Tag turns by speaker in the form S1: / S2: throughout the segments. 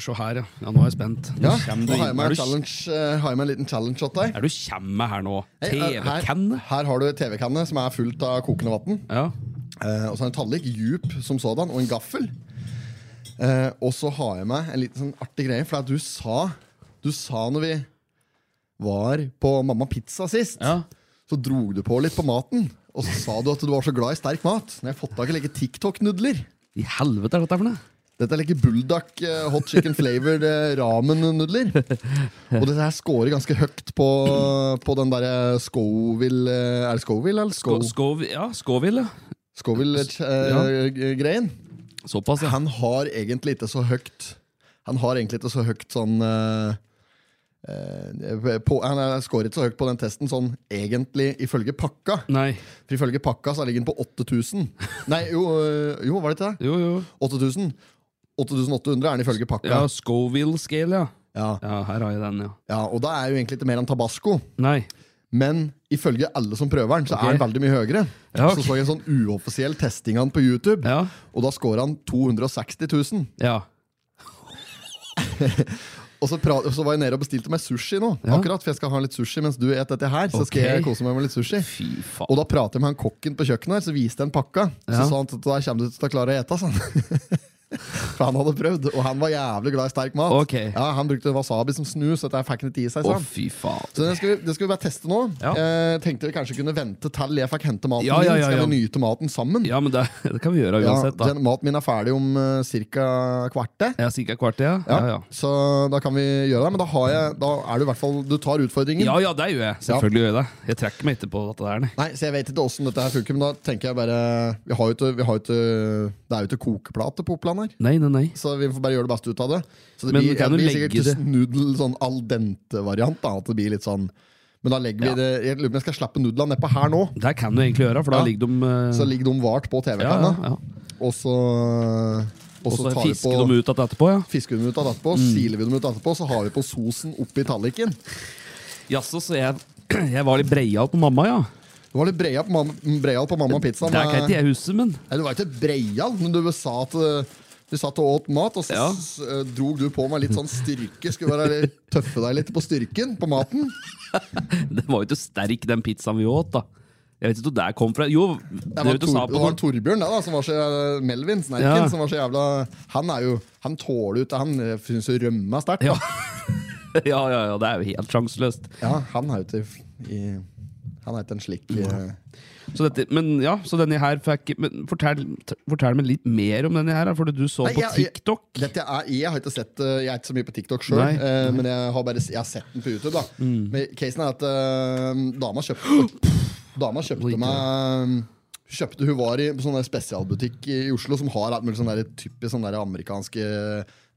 S1: Se her, ja. ja. Nå er jeg spent. Nå
S2: Ja,
S1: kommer
S2: nå
S1: du
S2: har jeg
S1: inn.
S2: med
S1: Er
S2: en,
S1: du,
S2: challenge, eh, har jeg med en liten challenge til deg.
S1: er du kjem med her nå?
S2: Hei, eh,
S1: TV-canne?
S2: Her, her har du TV-kanne som er fullt av kokende vann.
S1: Ja.
S2: Eh, og så er det en tallrik, djup som sådan, og en gaffel. Eh, og så har jeg med en liten sånn artig greie, for at du sa Du sa når vi var på Mamma Pizza sist,
S1: ja.
S2: så dro du på litt på maten. Og så sa du at du var så glad i sterk mat. Når jeg har fått tak i like TikTok-nudler.
S1: I helvete er dette for noe?
S2: Dette er like buldak eh, hot chicken flavored eh, ramen-nudler. Og dette her scorer ganske høyt på, på den derre Scoville eh, Er det Scoville eller Sco
S1: Sko- Skov, ja, Skoville.
S2: Scoville-greien?
S1: Såpass, ja.
S2: Han har egentlig ikke så høyt Han har egentlig ikke så høyt sånn eh, eh, på, Han er- scorer ikke så høyt på den testen sånn egentlig ifølge pakka.
S1: Nei.
S2: For ifølge pakka så ligger den på 8000. Nei, jo, eh, jo, var det ikke det?
S1: Jo, jo.
S2: 8000. 8800 er den ifølge pakka.
S1: Ja, Scoville-scale, ja.
S2: Ja.
S1: Ja, her har jeg den, ja.
S2: Ja, og da er jo egentlig ikke mer enn tabasco.
S1: Nei.
S2: Men ifølge alle som prøver den, så
S1: Ok.
S2: er den veldig mye høyere.
S1: Ja, ok.
S2: Så så jeg en sånn uoffisiell testing av den på YouTube,
S1: Ja.
S2: og da scorer han 260 000.
S1: Ja.
S2: Og så, pra- så var jeg nede og bestilte meg sushi nå,
S1: Ja.
S2: akkurat, for jeg skal ha litt sushi mens du et dette her. Så skal
S1: Ok.
S2: jeg kose meg med litt sushi.
S1: Fy faen.
S2: Og da prater jeg med han kokken på kjøkkenet, her, så viste jeg en pakka.
S1: Ja.
S2: Så sa han at da kommer du til å klare å ete, sa han. For han hadde prøvd, og han var jævlig glad i sterk mat.
S1: Ok.
S2: Ja, Han brukte wasabi som snus, så dette fikk han ikke i seg.
S1: Å,
S2: sa han.
S1: fy faen.
S2: Så det skal, vi, det skal vi bare teste nå.
S1: Ja.
S2: Eh, tenkte vi kanskje kunne vente til jeg fikk hente maten
S1: Ja, ja, ja,
S2: min. Skal vi
S1: ja.
S2: nyte maten sammen?
S1: Ja, men det, det kan vi gjøre
S2: Ja,
S1: uansett, da.
S2: den maten min er ferdig om uh, ca. kvartet.
S1: Jeg er sikker kvart, ja.
S2: Ja,
S1: Ja, ja.
S2: Så da kan vi gjøre det. Men da, har jeg, da er du i hvert fall Du tar utfordringen.
S1: Ja, ja, det gjør jeg. Selvfølgelig gjør jeg det. Jeg trekker meg ikke på dette der, nei.
S2: Nei, så jeg vet ikke åssen dette her funker, men da tenker jeg bare Vi har jo ikke, vi har jo ikke Det er jo ikke kokeplate på Oppland her.
S1: Nei, nei, nei.
S2: Så vi får bare gjøre det beste ut av det. Så det
S1: Men
S2: blir,
S1: kan
S2: det
S1: du
S2: blir
S1: legge
S2: sikkert
S1: det-
S2: nudel sånn al dente-variant. da, At det blir litt sånn Men da legger vi
S1: Ja.
S2: det Jeg lurer på om jeg skal slappe nudlene nedpå her nå.
S1: Det kan du egentlig gjøre, for da
S2: Ja.
S1: ligger de eh,
S2: Så ligger de vart på
S1: ja,
S2: TV-kanna.
S1: ja, ja.
S2: Og så og
S1: Og
S2: så
S1: så
S2: tar vi
S1: fisker
S2: på
S1: de ut Mm. at etterpå, ja.
S2: Fisker vi dem ut av etterpå, siler vi dem ut etterpå, så har vi på sosen oppi tallerkenen.
S1: Jaså, så jeg, jeg var litt breial på mamma, ja.
S2: Det var litt breial på mamma, breial på mamma pizza.
S1: Det kan
S2: med-
S1: ikke jeg huske, men
S2: Nei, du var ikke breial, men du sa at eh, vi satt og åt mat, og så
S1: Ja.
S2: s- eh, dro du på meg litt sånn styrke. Skulle være litt tøffe deg litt på styrken på maten.
S1: den var jo ikke sterk, den pizzaen vi åt, da. Jeg vet ikke hvor det kom fra. Jo, det vet
S2: Det var,
S1: du sa
S2: Tor, det
S1: på
S2: var
S1: kort.
S2: Torbjørn det da, som var så eh, Melvin,
S1: Ja.
S2: snerken, som var så jævla Han er jo, han tåler jo ikke Han eh, synes jo rømme er sterkt.
S1: Ja.
S2: da.
S1: ja, ja, ja, det er jo helt sjanseløst.
S2: Ja, han er jo ikke i Han er ikke en slik eh,
S1: Så dette, men ja, så denne her fikk men fortell, t- fortell meg litt mer om denne her, da, for du så
S2: Nei,
S1: på
S2: jeg- jeg-
S1: TikTok.
S2: Dette er, jeg har ikke sett eh, Jeg er ikke så mye på TikTok sjøl,
S1: Nei. Mm.
S2: eh, men jeg har, bare, jeg har sett den på YouTube. da Men Casen er at eh, dama kjøpte Dama
S1: Oi,
S2: kjøpte meg eh, Kjøpte Hun var i på sånn der spesialbutikk i Oslo som har alt mulig sånn der typisk sånn der amerikanske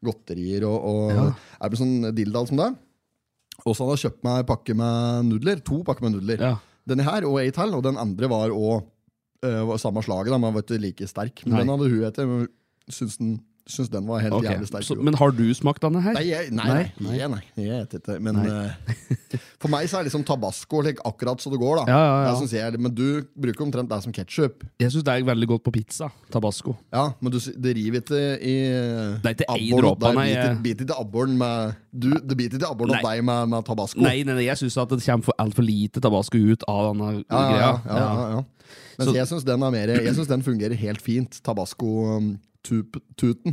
S2: godterier og, og
S1: Ja.
S2: er det sånn dilldall som det. Og så hadde hun kjøpt meg en pakke med nudler. To pakker med nudler.
S1: Ja.
S2: Denne her og ei til, og den andre var òg samme slaget, da, men var ikke like sterk. Men
S1: Nei.
S2: den hadde hun etter. men Syns den, syns den var helt
S1: Ok,
S2: jævlig sterk.
S1: Så,
S2: hun.
S1: men har du smakt denne her?
S2: nei, jeg, nei, nei,
S1: Nei, nei.
S2: jeg- nei, jeg vet ikke. Men eh, for meg så er liksom tabasco like, akkurat så det går, da.
S1: Ja, ja, ja.
S2: Det synes jeg, er- men du bruker omtrent det som ketsjup.
S1: Jeg syns det er veldig godt på pizza. Tabasco.
S2: Ja, men du, sy- det river ikke i
S1: Det er ikke ei
S2: abboren
S1: dråpe,
S2: åt deg.
S1: nei,
S2: Biter-
S1: jeg-
S2: Biter ikke abboren med du, Det biter ikke abboren av
S1: Nei.
S2: deg med, med tabasco.
S1: Nei, nei, nei, jeg syns at det kommer for altfor lite tabasco ut av denne
S2: ja, ja,
S1: greia.
S2: ja, ja, ja, ja. Men
S1: Så-
S2: jeg syns den, er mer- jeg synes den fungerer helt fint. Tabasco-tuten.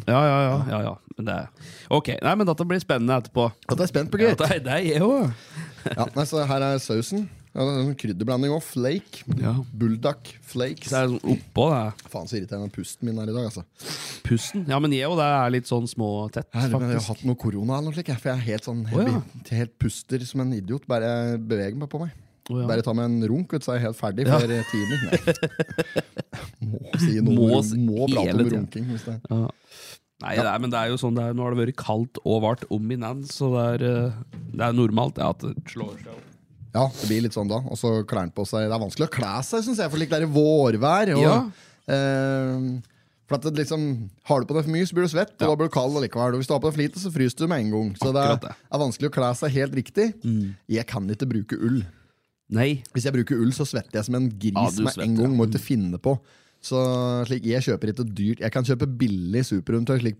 S1: Ja, ja, ja. ja, ja. Men det er... Ok, nei, men dette blir spennende etterpå.
S2: At jeg er spent på
S1: Ja,
S2: gøy.
S1: det, er- det er jeg òg.
S2: Ja, nei, så her er sausen. Ja, det er en krydderblanding òg. Flake.
S1: Ja.
S2: Bulldog flakes.
S1: Så er det sånn oppå det.
S2: Faen så irriterende pusten min er i dag, altså.
S1: Pusten. Ja, men jeg òg. Det er litt sånn små og tett,
S2: Her, men jeg har
S1: faktisk.
S2: hatt noe korona eller noe slikt, jeg, for jeg er helt sånn
S1: Å, ja.
S2: helt, helt puster som en idiot. Bare jeg beveger meg på meg.
S1: Å, ja.
S2: Bare ta meg en runk, ut, så er jeg helt ferdig
S1: Ja.
S2: for timer. Nei. Må si noe
S1: Må
S2: om
S1: si-
S2: rum- Må prate
S1: hele
S2: om
S1: tiden.
S2: runking. Hvis det er.
S1: Nei, det er, men det er jo sånn det er, Nå har det vært kaldt og vart om i natt, så det er, eh, det er normalt ja, at det slår seg opp.
S2: Ja, det blir litt sånn da. Og så klærne på seg. Det er vanskelig å kle seg, syns jeg, for like det er vårvær. Og,
S1: Ja.
S2: eh, for at det liksom, Har du på deg for mye, så blir du svett, og da blir du kald allikevel. Og hvis du har på deg for lite, så fryser du med en gang. Så det
S1: Akkurat det.
S2: er,
S1: Mm.
S2: er vanskelig å kle seg helt riktig. Jeg kan ikke bruke ull.
S1: Nei.
S2: Hvis jeg bruker ull, så svetter jeg som en gris
S1: Ja, Mm. du
S2: med
S1: svetter,
S2: en gang. Må ikke finne på. Så slik, Jeg kjøper ikke dyrt. Jeg kan kjøpe billig superundertøy, slik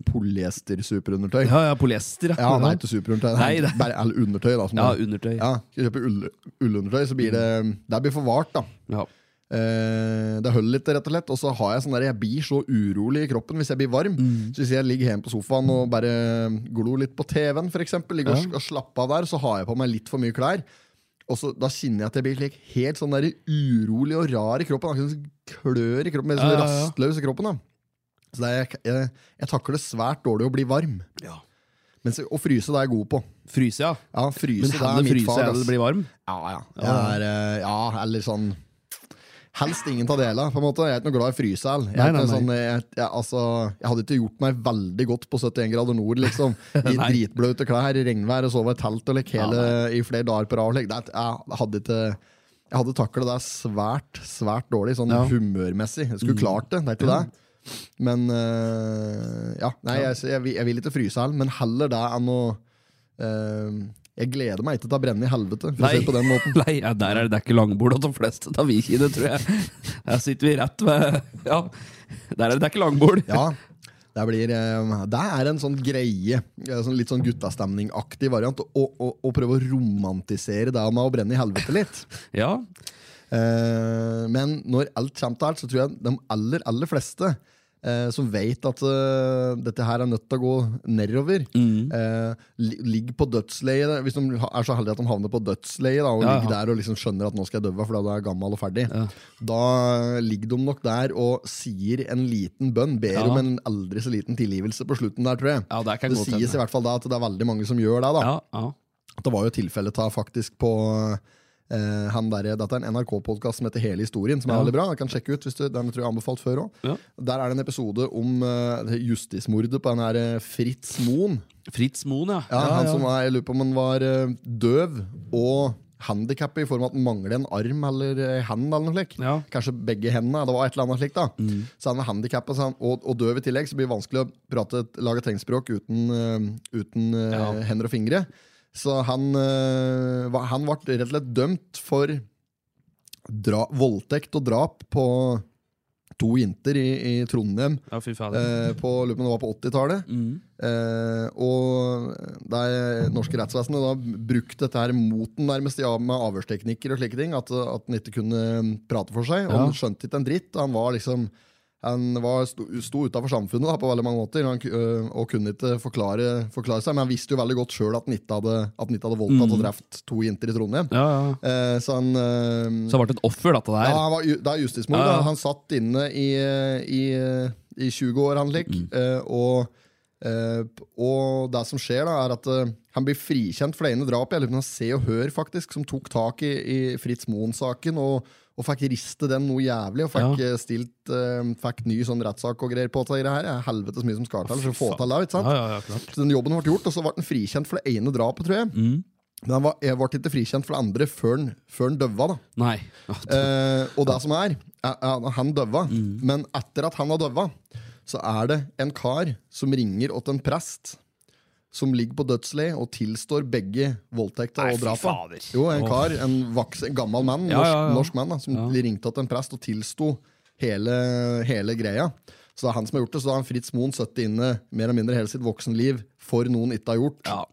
S2: polyester-superundertøy.
S1: Ja, ja, polyester.
S2: Ja, nei, ikke superundertøy. det er
S1: Nei, det er-
S2: Bare, eller undertøy, da. Som
S1: Ja,
S2: det-
S1: undertøy.
S2: ja, skal jeg kjøpe ull- ullundertøy, så blir det Det blir for vart, da.
S1: Ja.
S2: Eh, det holder litt, rett og slett. Og så har jeg sånn der, jeg blir så urolig i kroppen hvis jeg blir varm.
S1: Mm.
S2: Så hvis jeg ligger hjemme på sofaen og bare glor litt på TV-en, for eksempel, ligger og, og slapper av der, så har jeg på meg litt for mye klær. Og så, Da kjenner jeg at jeg blir slik helt sånn der urolig og rar i kroppen. Akkurat som klør i kroppen, blir sånn
S1: Ja, ja, ja.
S2: rastløs i kroppen. da Så det er, jeg, jeg, jeg takler svært dårlig å bli varm.
S1: Ja.
S2: Mens å fryse det er jeg god på.
S1: Fryse, ja.
S2: Ja, fryse
S1: Men
S2: det er
S1: heller
S2: mitt
S1: fryse
S2: fag.
S1: enn
S2: ass.
S1: det blir varm?
S2: Ja, ja. Jeg er, eh, ja, eller sånn Helst ingen av delene. på en måte. Jeg er ikke noe glad i frysehæl. Jeg,
S1: Nei,
S2: er
S1: nei,
S2: ikke
S1: nei.
S2: sånn, jeg, jeg, altså, jeg hadde ikke gjort meg veldig godt på 71 grader nord, liksom. I
S1: Nei.
S2: dritbløte klær, i regnvær og sove i telt og like, hele, i flere dager på rad. Like. Det er- Jeg hadde ikke jeg hadde taklet det svært svært dårlig, sånn
S1: Ja. Mm.
S2: humørmessig. Jeg skulle klart det, det er ikke det. Men eh, ja, nei, jeg, jeg, vil- jeg vil ikke fryse heller, men heller det enn å eh, Jeg gleder meg ikke til å brenne i helvete, for å si det på den måten.
S1: Nei ja, der er det, det er ikke langbord hos de fleste. Da vi ikke i det, tror jeg. Der sitter vi rett ved Ja, der er det, det er ikke langbord.
S2: Ja, det, blir, eh, det er en sånn greie. eh, Sånn litt sånn guttastemningaktig variant. Å, å, å prøve å romantisere det med å brenne i helvete litt.
S1: Ja.
S2: Eh, men når alt kommer til alt, så tror jeg de aller, aller fleste eh, som vet at eh, dette her er nødt til å gå nedover,
S1: mm.
S2: eh, li- ligger på dødsleiet. Hvis de ha- er så heldige at de havner på dødsleiet da, og
S1: Ja, ja.
S2: ligger der og liksom skjønner at nå skal jeg døve fordi jeg er gammel og ferdig, da ligger de nok der og sier en liten bønn. Ber
S1: Ja.
S2: om en aldri så liten tilgivelse på slutten der, tror jeg.
S1: Ja, det kan
S2: det
S1: godt
S2: sies
S1: hende.
S2: i hvert fall da at det er veldig mange som gjør det. da
S1: Ja, ja.
S2: det var jo tilfelle ta faktisk på eh, han der, Dette er en NRK-podkast som heter Hele historien, som er
S1: Ja.
S2: veldig bra. Jeg kan sjekke ut, hvis du, Den tror jeg er anbefalt før også.
S1: Ja.
S2: Der er det en episode om eh, justismordet på den her eh, Fritz Moen.
S1: Fritz Moen, ja.
S2: Ja, han som var, Jeg lurer på om han var eh, døv og handikappet i form av at han mangler en arm eller ei hand. eller noe slik.
S1: Ja.
S2: Kanskje begge hendene. Det var et eller annet slikt. da. Så han var handikappa og, og døv i tillegg, så blir det vanskelig å prate, lage tegnspråk uten, eh, uten eh,
S1: Ja.
S2: hender og fingre. Så han, eh, var- han ble rett og slett dømt for dra, voldtekt og drap på to jenter i, i Trondheim
S1: ja, fy fader.
S2: eh, på, lurer på om det var på 80-tallet.
S1: Mm.
S2: Eh, og det norske rettsvesenet da brukte dette her mot den nærmest ja, med avhørsteknikker og slike ting. At, at han ikke kunne prate for seg. Og
S1: Ja.
S2: han skjønte ikke en dritt. og Han var liksom han var, sto, sto utafor samfunnet da, på veldig mange måter han, ku- øh, og kunne ikke forklare, forklare seg. Men han visste jo veldig godt sjøl at han ikke hadde, at han ikke hadde voldtatt og drept to jenter i Trondheim.
S1: Ja, ja.
S2: Eh, så han eh,
S1: Så det ble et offer, dette
S2: ja,
S1: der.
S2: han var, ju- det er justismord.
S1: Ja, ja.
S2: da. Han satt inne i, i, i 20 år, han lik.
S1: Mm.
S2: eh, Og, eh, p- og det som skjer, da, er at eh, han blir frikjent for det ene drapet. Eller han ser og hører, faktisk, som tok tak i, i Fritz Moen-saken. Og, og fikk riste den noe jævlig, og fikk, eh, stilt, eh, fikk ny sånn rettssak og greier på seg. Det her Det er helvetes mye som skal til for å få
S1: faen.
S2: til det. ikke sant?
S1: Ja, ja, ja, klart.
S2: Så den jobben ble gjort, og så ble han frikjent for det ene drapet, tror jeg.
S1: Mm.
S2: Men han var, jeg ble ikke frikjent for det andre før han- før han døva. da
S1: Nei. Ja,
S2: Eh, og det som er, er, er han døva. Men etter at han har døva, så er det en kar som ringer åt en prest som ligger på dødsleiet og tilstår begge voldtekter
S1: Nei,
S2: og
S1: fy
S2: drapa.
S1: fader.
S2: Jo, en kar, en, vaks, en gammel mann,
S1: Ja,
S2: norsk,
S1: ja, ja.
S2: norsk mann, da, som ringte åt en prest og tilsto hele, hele greia. Så det er han som har gjort det, så da har han Fritz Moen sittet inne mer eller mindre hele sitt voksenliv for noen ikke har gjort.
S1: Ja.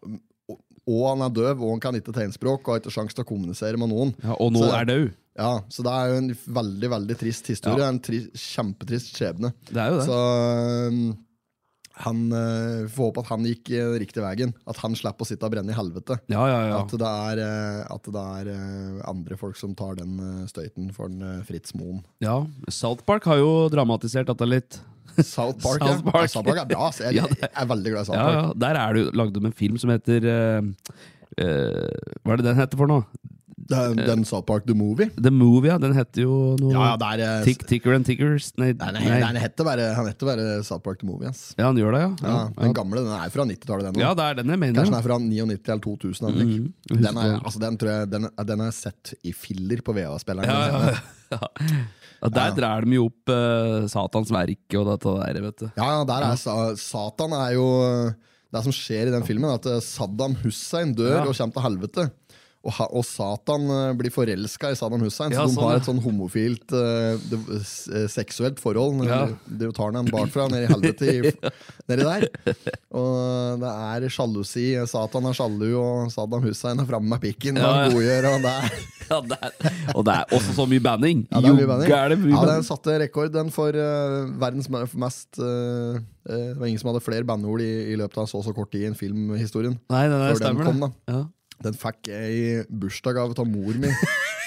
S2: Og, og han er døv, og han kan ikke tegnspråk, og har ikke sjans til å kommunisere med noen.
S1: Ja, og nå
S2: Så-
S1: er det jo.
S2: ja, så det er jo en veldig, veldig trist historie.
S1: Ja.
S2: En tri kjempetrist skjebne.
S1: Det er jo det.
S2: Så øhm, han øh, får håpe at han gikk øh, riktig veien. At han slipper å sitte og brenne i helvete.
S1: Ja, ja, ja.
S2: At det er, øh, at det er øh, andre folk som tar den øh, støyten for den, øh, Fritz Moen.
S1: ja. South Park har jo dramatisert dette litt.
S2: South Park,
S1: South
S2: ja.
S1: Park.
S2: Ja, South Park er bra. ass. Jeg,
S1: Ja, det-
S2: jeg er veldig glad i South
S1: Ja,
S2: Park.
S1: ja. Der er det jo lagd om en film som heter eh, eh, Hva er det den heter for noe?
S2: Den, den South Park The Movie.
S1: The Movie, ja. Den heter jo noe
S2: Ja, ja, det er, øh,
S1: Tick, Ticker and Tickers. Nei,
S2: den,
S1: nei.
S2: er, den heter bare, han heter bare South Park The Movie. Ass.
S1: Ja, han gjør det, ja.
S2: Ja,
S1: Ja,
S2: den gamle den er fra 90-tallet. den
S1: ja.
S2: også.
S1: det er den jeg mener.
S2: Kanskje den
S1: ja. Mhm.
S2: er fra 99 eller 2000. eller noe. Den, er, altså, den, tror jeg, den, den er sett i filler på VA-spilleren.
S1: Ja, ja, ja. Ja, der drar de jo opp eh, Satans verk og dette der, vet du.
S2: Ja, ja, der er sa- Satan er jo Det som skjer i den filmen, er at eh, Saddam Hussein dør
S1: Ja.
S2: og kommer til helvete. Og, ha, og Satan eh, blir forelska i Saddam Hussein,
S1: Ja,
S2: så de
S1: sånn,
S2: har
S1: ja.
S2: et sånn homofilt eh, det- s- eh, seksuelt forhold. Når
S1: Ja.
S2: De tar den bakfra, ned i helvete i, nedi der. Og det er sjalusi. Satan er sjalu, og Saddam Hussein er framme med pikken.
S1: Ja, ja.
S2: Og godgjør, og det er
S1: Ja, det er, og det er også så mye banning.
S2: ja, det er mye banning.
S1: Jo, gære mye
S2: Ja, den
S1: banning.
S2: satte rekord, den, for eh, verdens me- mest eh, eh, Det var ingen som hadde flere bandord i, i løpet av så og så kort tid i en filmhistorien.
S1: Nei, nei, nei,
S2: Før den
S1: stemmer
S2: kom,
S1: det.
S2: da.
S1: Ja.
S2: Den fikk jeg i bursdagsgave av mor mi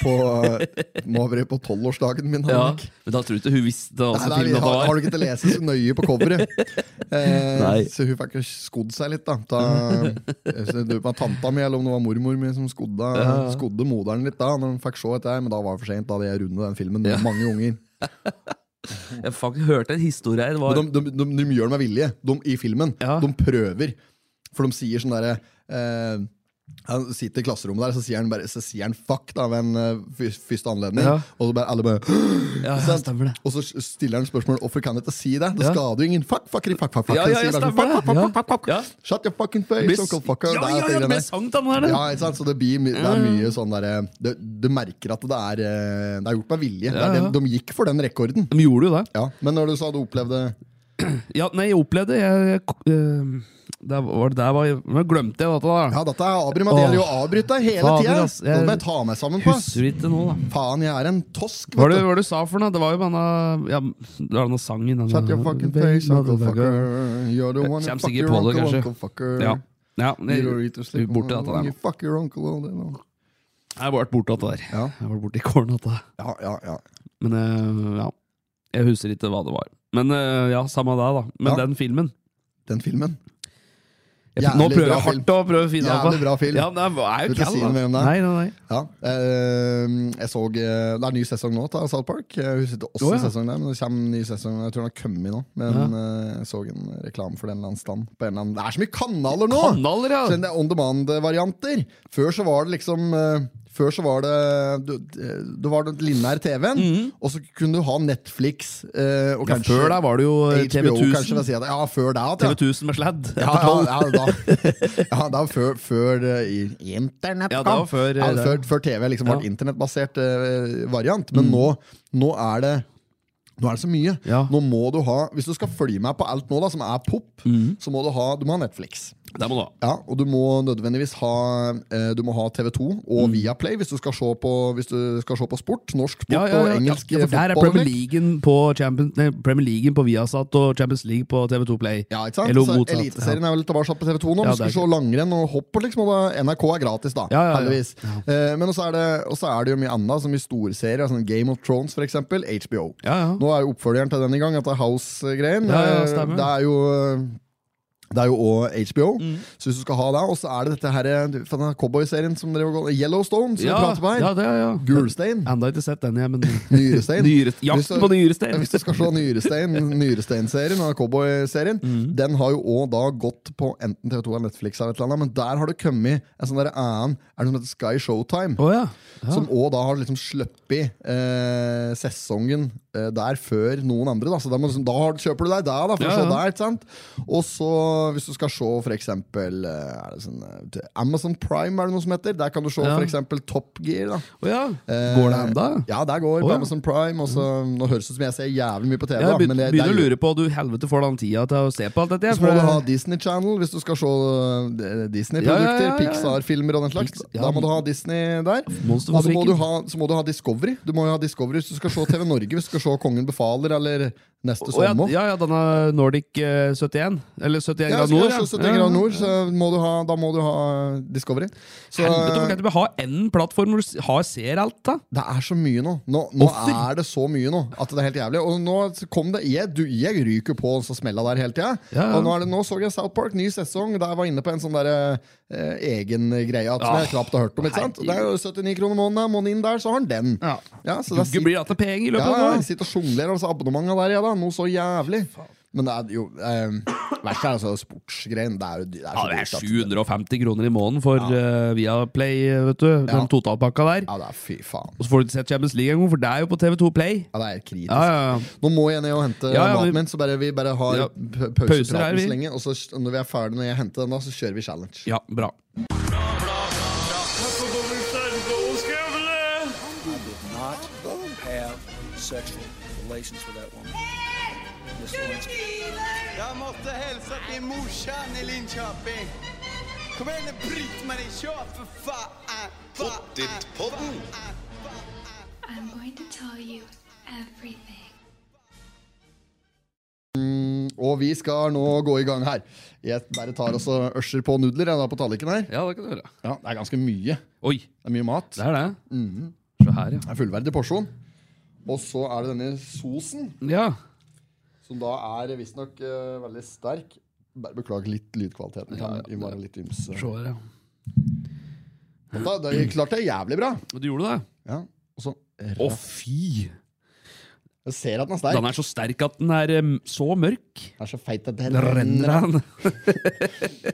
S2: på, eh, må ha vært på tolvårsdagen min.
S1: Ja.
S2: Henrik.
S1: Men da tror jeg ikke hun visste
S2: Nei,
S1: åssen
S2: nei,
S1: film
S2: vi
S1: dette
S2: har,
S1: var.
S2: har du ikke til å lese så nøye på coveret? Eh,
S1: Nei.
S2: så hun fikk jo skodd seg litt, da. da jeg vet ikke om det var tanta mi eller om det var mormor mi som skodde,
S1: Ja.
S2: skodde moderen litt da. Når hun fikk se dette her, Men da var det for sent. Da hadde jeg rundet den filmen med mange unger.
S1: Jeg faktisk hørte en historie her. Det var,
S2: Men de, de, de, de gjør det med vilje de, i filmen.
S1: Ja.
S2: De prøver. For de sier sånn derre eh, Han sitter i klasserommet der, så sier han, bare, så sier han fuck da ved en eh, fyr- første anledning.
S1: Ja.
S2: Og så bare, alle bare
S1: ja, ja,
S2: sant?
S1: stemmer det.
S2: Og så stiller han spørsmål hvorfor kan jeg ikke si det. Det
S1: Ja.
S2: skader jo ingen. Fuck, fuckeri, fuck, fuck, fuck.
S1: Ja,
S2: Han
S1: ja,
S2: sier
S1: ja,
S2: bare sånn,
S1: stemmer det.
S2: fuck, fuck, fuck, fuck, fuck.
S1: Ja.
S2: Shut your fucking face,
S1: Blir-
S2: uncle fucker.
S1: Ja, ja,
S2: Det er til
S1: ja,
S2: den
S1: det
S2: der.
S1: ble sangt, han der.
S2: Ja, ikke sant? Så det, blir, my- det er mye sånn derre du, du merker at det er, eh, det er gjort med vilje. Det
S1: Ja,
S2: er
S1: ja.
S2: det- De gikk for den rekorden.
S1: De gjorde jo det.
S2: Ja, Men når du sa du opplevde
S1: Ja, nei, jeg opplevde jeg, jeg, eh, det var det der var, Nå glemte jeg dette, da.
S2: Ja, dette er Abri, men det
S1: Åh.
S2: gjelder jo å avbryte hele
S1: Fader,
S2: tida!
S1: ass.
S2: Nå må
S1: Jeg-
S2: jeg ta meg sammen på ass.
S1: Husker du ikke nå, da?
S2: Faen, jeg er en tosk,
S1: Hva var
S2: vet
S1: det,
S2: du.
S1: hva var det du sa for noe? Det var jo denne, ja, det var denne sangen denne,
S2: Shut your fucking face, uncle fucker. You're the one who
S1: Kjem
S2: fuck
S1: sikkert
S2: your
S1: på det,
S2: uncle,
S1: kanskje.
S2: uncle fucker.
S1: Ja, ja nei,
S2: You don't need to sleep
S1: vi borte
S2: on-
S1: dette der nå.
S2: you Fuck your uncle all day long.
S1: jeg har vært borte dette der
S2: Ja.
S1: Jeg har vært borte i kålen dette
S2: Ja, ja, ja.
S1: Men eh, ja, jeg husker ikke hva det var Men eh, ja, samme det da Men
S2: Ja.
S1: den filmen
S2: Den filmen.
S1: jeg, Nå
S2: Jævlig
S1: prøver
S2: bra
S1: jeg
S2: film.
S1: hardt å prøve å finne
S2: Jævlig
S1: det.
S2: bra film.
S1: altså. Ja, men det er
S2: Vil
S1: jo
S2: ikke
S1: kall,
S2: si
S1: da.
S2: noe om det.
S1: Nei, nei, nei
S2: Ja. eh, jeg så eh, Det er ny sesong nå av South Park. Jeg husker ikke åssen
S1: Å, ja.
S2: sesong det er, men det kommer en ny sesong. Jeg tror den har kommet nå. Men eh, jeg så en reklame for den eller annen stand. På en eller annen. Det er så mye kanaler nå!
S1: Kanaler, ja
S2: Så det er on demand-varianter. Før så var det liksom eh, Før så var det du, du var den lineære TV-en, og så kunne du ha Netflix eh, og
S1: Mhm. ja,
S2: kanskje
S1: Før der var det jo eh,
S2: HBO, kanskje,
S1: TV1000
S2: vil jeg si at- Ja, før det. at, ja.
S1: TV1000 med sledd
S2: Ja,
S1: etter tolv.
S2: ja, ja, da, ja, da før, før eh, i- internett
S1: Ja, det
S2: kom.
S1: var før, eh,
S2: ja,
S1: det.
S2: før, før TV liksom
S1: Ja. Mm.
S2: ble internettbasert eh, variant. Men nå, nå er det nå er det så mye.
S1: Ja.
S2: Nå må du ha, Hvis du skal følge med på alt nå da, som er pop,
S1: Mm.
S2: så må du ha, du må ha Netflix.
S1: Det må du ha
S2: Ja, og du må nødvendigvis ha eh, Du må ha TV2 og
S1: Mm.
S2: Viaplay hvis du skal se på, hvis du skal se på sport. Norsk sport og engelsk
S1: ja, for Der er
S2: fotball.
S1: Premier Leagueen på, Champions, nei, Premier League på Viasat og Champions League på TV2 Play.
S2: Ja, ikke sant?
S1: Eller
S2: Så
S1: motsatt,
S2: Eliteserien er vel tilbake på TV2 nå.
S1: Ja,
S2: Ja,
S1: det er
S2: skal se langrenn og hopp. og Liksom, og da, NRK er gratis, da.
S1: Ja, ja, ja.
S2: Heldigvis. Eh, men også er, det, også er det jo mye annet, som i storserier. Sånn Game of Thrones, for eksempel. HBO.
S1: Ja, ja.
S2: Nå er jo oppfølgeren til den i gang, etter House-greien.
S1: Ja, ja,
S2: Eh,
S1: stemmer.
S2: det er jo eh, det er jo òg HBO,
S1: Mm.
S2: så hvis du skal ha det. Og så er det dette her, for denne cowboyserien som driver og går Yellowstone, som
S1: ja,
S2: vi prater på her.
S1: ja, det, ja.
S2: Gulstein.
S1: Enda ikke sett den, jeg, men
S2: Nyrestein.
S1: Nyrest-
S2: Hvis du-
S1: Jakten på nyrestein!
S2: Hvis du skal se Nyrestein, Nyrestein-serien og Cowboy-serien,
S1: Mm.
S2: den har jo òg da gått på enten TV2 eller Netflix, eller et eller annet, men der har det kommet en sånn der annen er det som heter Sky Showtime.
S1: Å ja. ja.
S2: Som òg da har liksom sluppet eh, sesongen eh, der før noen andre. Da Så da, må, du liksom- da har- kjøper du deg der, da, for
S1: Ja,
S2: å se
S1: ja.
S2: der. ikke sant? Og så, hvis du skal se for eksempel eh, er det sånn, eh, til Amazon Prime, er det noe som heter. Der kan du se
S1: Ja.
S2: for eksempel Top Gear. da
S1: Å ja.
S2: Eh,
S1: Går det enda?
S2: Ja, der går
S1: Å,
S2: på
S1: ja.
S2: Amazon Prime. Og så, nå høres det ut som jeg ser jævlig mye på TV.
S1: Jeg
S2: da, men det,
S1: begynner,
S2: det er
S1: begynner å
S2: jo-
S1: lure på du helvete får den tida til å se på alt dette.
S2: Så må du ha
S1: For,
S2: Disney Channel hvis du skal se eh,
S1: Ja,
S2: Disney-produkter.
S1: ja, ja, ja, ja.
S2: Pixar-filmer og den slags.
S1: Pix- ja.
S2: Da må du ha Disney der.
S1: Monster
S2: Og så
S1: Fabrikken.
S2: må, du ha, så må du ha Discovery. Du må jo ha Discovery hvis du skal se TV Norge. Hvis du skal se Kongen befaler eller Neste
S1: Å ja,
S2: sommer.
S1: ja, ja, denne Nordic eh, 71. Eller 71
S2: Ja,
S1: grad
S2: skal
S1: nord.
S2: jeg
S1: ja.
S2: se 71
S1: Ja, ja.
S2: grader nord, så må du ha, da må du ha Discovery. Så,
S1: Helvete, hvorfor kan du ikke ha én plattform hvor du s- har, ser alt, da?
S2: Det er så mye nå. Nå, nå
S1: Offer.
S2: er det så mye nå at det er helt jævlig. Og nå kom det Jeg, du, jeg ryker på så smella der hele tida.
S1: Ja, ja.
S2: Og nå, er det, nå så jeg South Park, ny sesong. Der jeg var inne på en sånn der, eh, egen greie at,
S1: Ah,
S2: som jeg knapt har hørt om. Ikke sant? Og Det er jo 79 kroner måneden. Måneden inn der, så har han den.
S1: Ja.
S2: Ja, så det
S1: Jugge
S2: sitter,
S1: blir det til penger i
S2: ja,
S1: løpet av
S2: ja,
S1: et år.
S2: jeg sitter og sjonglerer altså abonnementene der, ja da. Noe så jævlig. Men det er jo eh, Verst er altså sportsgreien. Det er jo det er
S1: Ja,
S2: så
S1: det er
S2: dyrt at-
S1: 750 kroner i måneden for eh, Viaplay, vet du. Den totalpakka der.
S2: Ja, det er fy faen.
S1: Og så får du ikke sett Champions League engang, for det er jo på TV2 Play.
S2: Ja, det er helt kritisk.
S1: Ja, ja, ja.
S2: Nå må jeg ned og hente
S1: Ja, ja,
S2: maten
S1: vi-
S2: min, så bare, vi bare har
S1: Ja.
S2: p-
S1: Pauser her,
S2: pausepraten
S1: vi.
S2: så lenge. Og så s- når vi er ferdig når jeg henter den, da, så kjører vi challenge.
S1: ja bra.
S3: sexual relations with that woman. Miss Lewinsky.
S4: Jeg måtte hilse til morsan i Linköping. Kom igjen, Britt-Marie, kjør, for faen! Pottit-podden!
S5: I'm going to tell you everything.
S2: Og vi skal nå gå i gang her. Jeg bare tar også ørser på nudler jeg, da, på tallerkenen her.
S1: Ja, det kan du gjøre.
S2: Ja, Det er ganske mye.
S1: Oi,
S2: Det er mye mat.
S1: det er det. Se her, ja.
S2: Det er fullverdig porsjon. Og så er det denne sosen,
S1: Ja,
S2: som da er visstnok uh, veldig sterk. Bare beklager litt lydkvaliteten.
S1: Ja, ja,
S2: kan vi være litt ymse.
S1: se her, ja.
S2: Da, da, vi klarte det jævlig bra.
S1: Og Du gjorde det?
S2: Ja, og så
S1: Å, fy!
S2: Jeg ser at den er sterk.
S1: Den er så sterk at den er em, så mørk.
S2: Den er så feit at det
S1: Den renner
S2: renner av.
S1: han.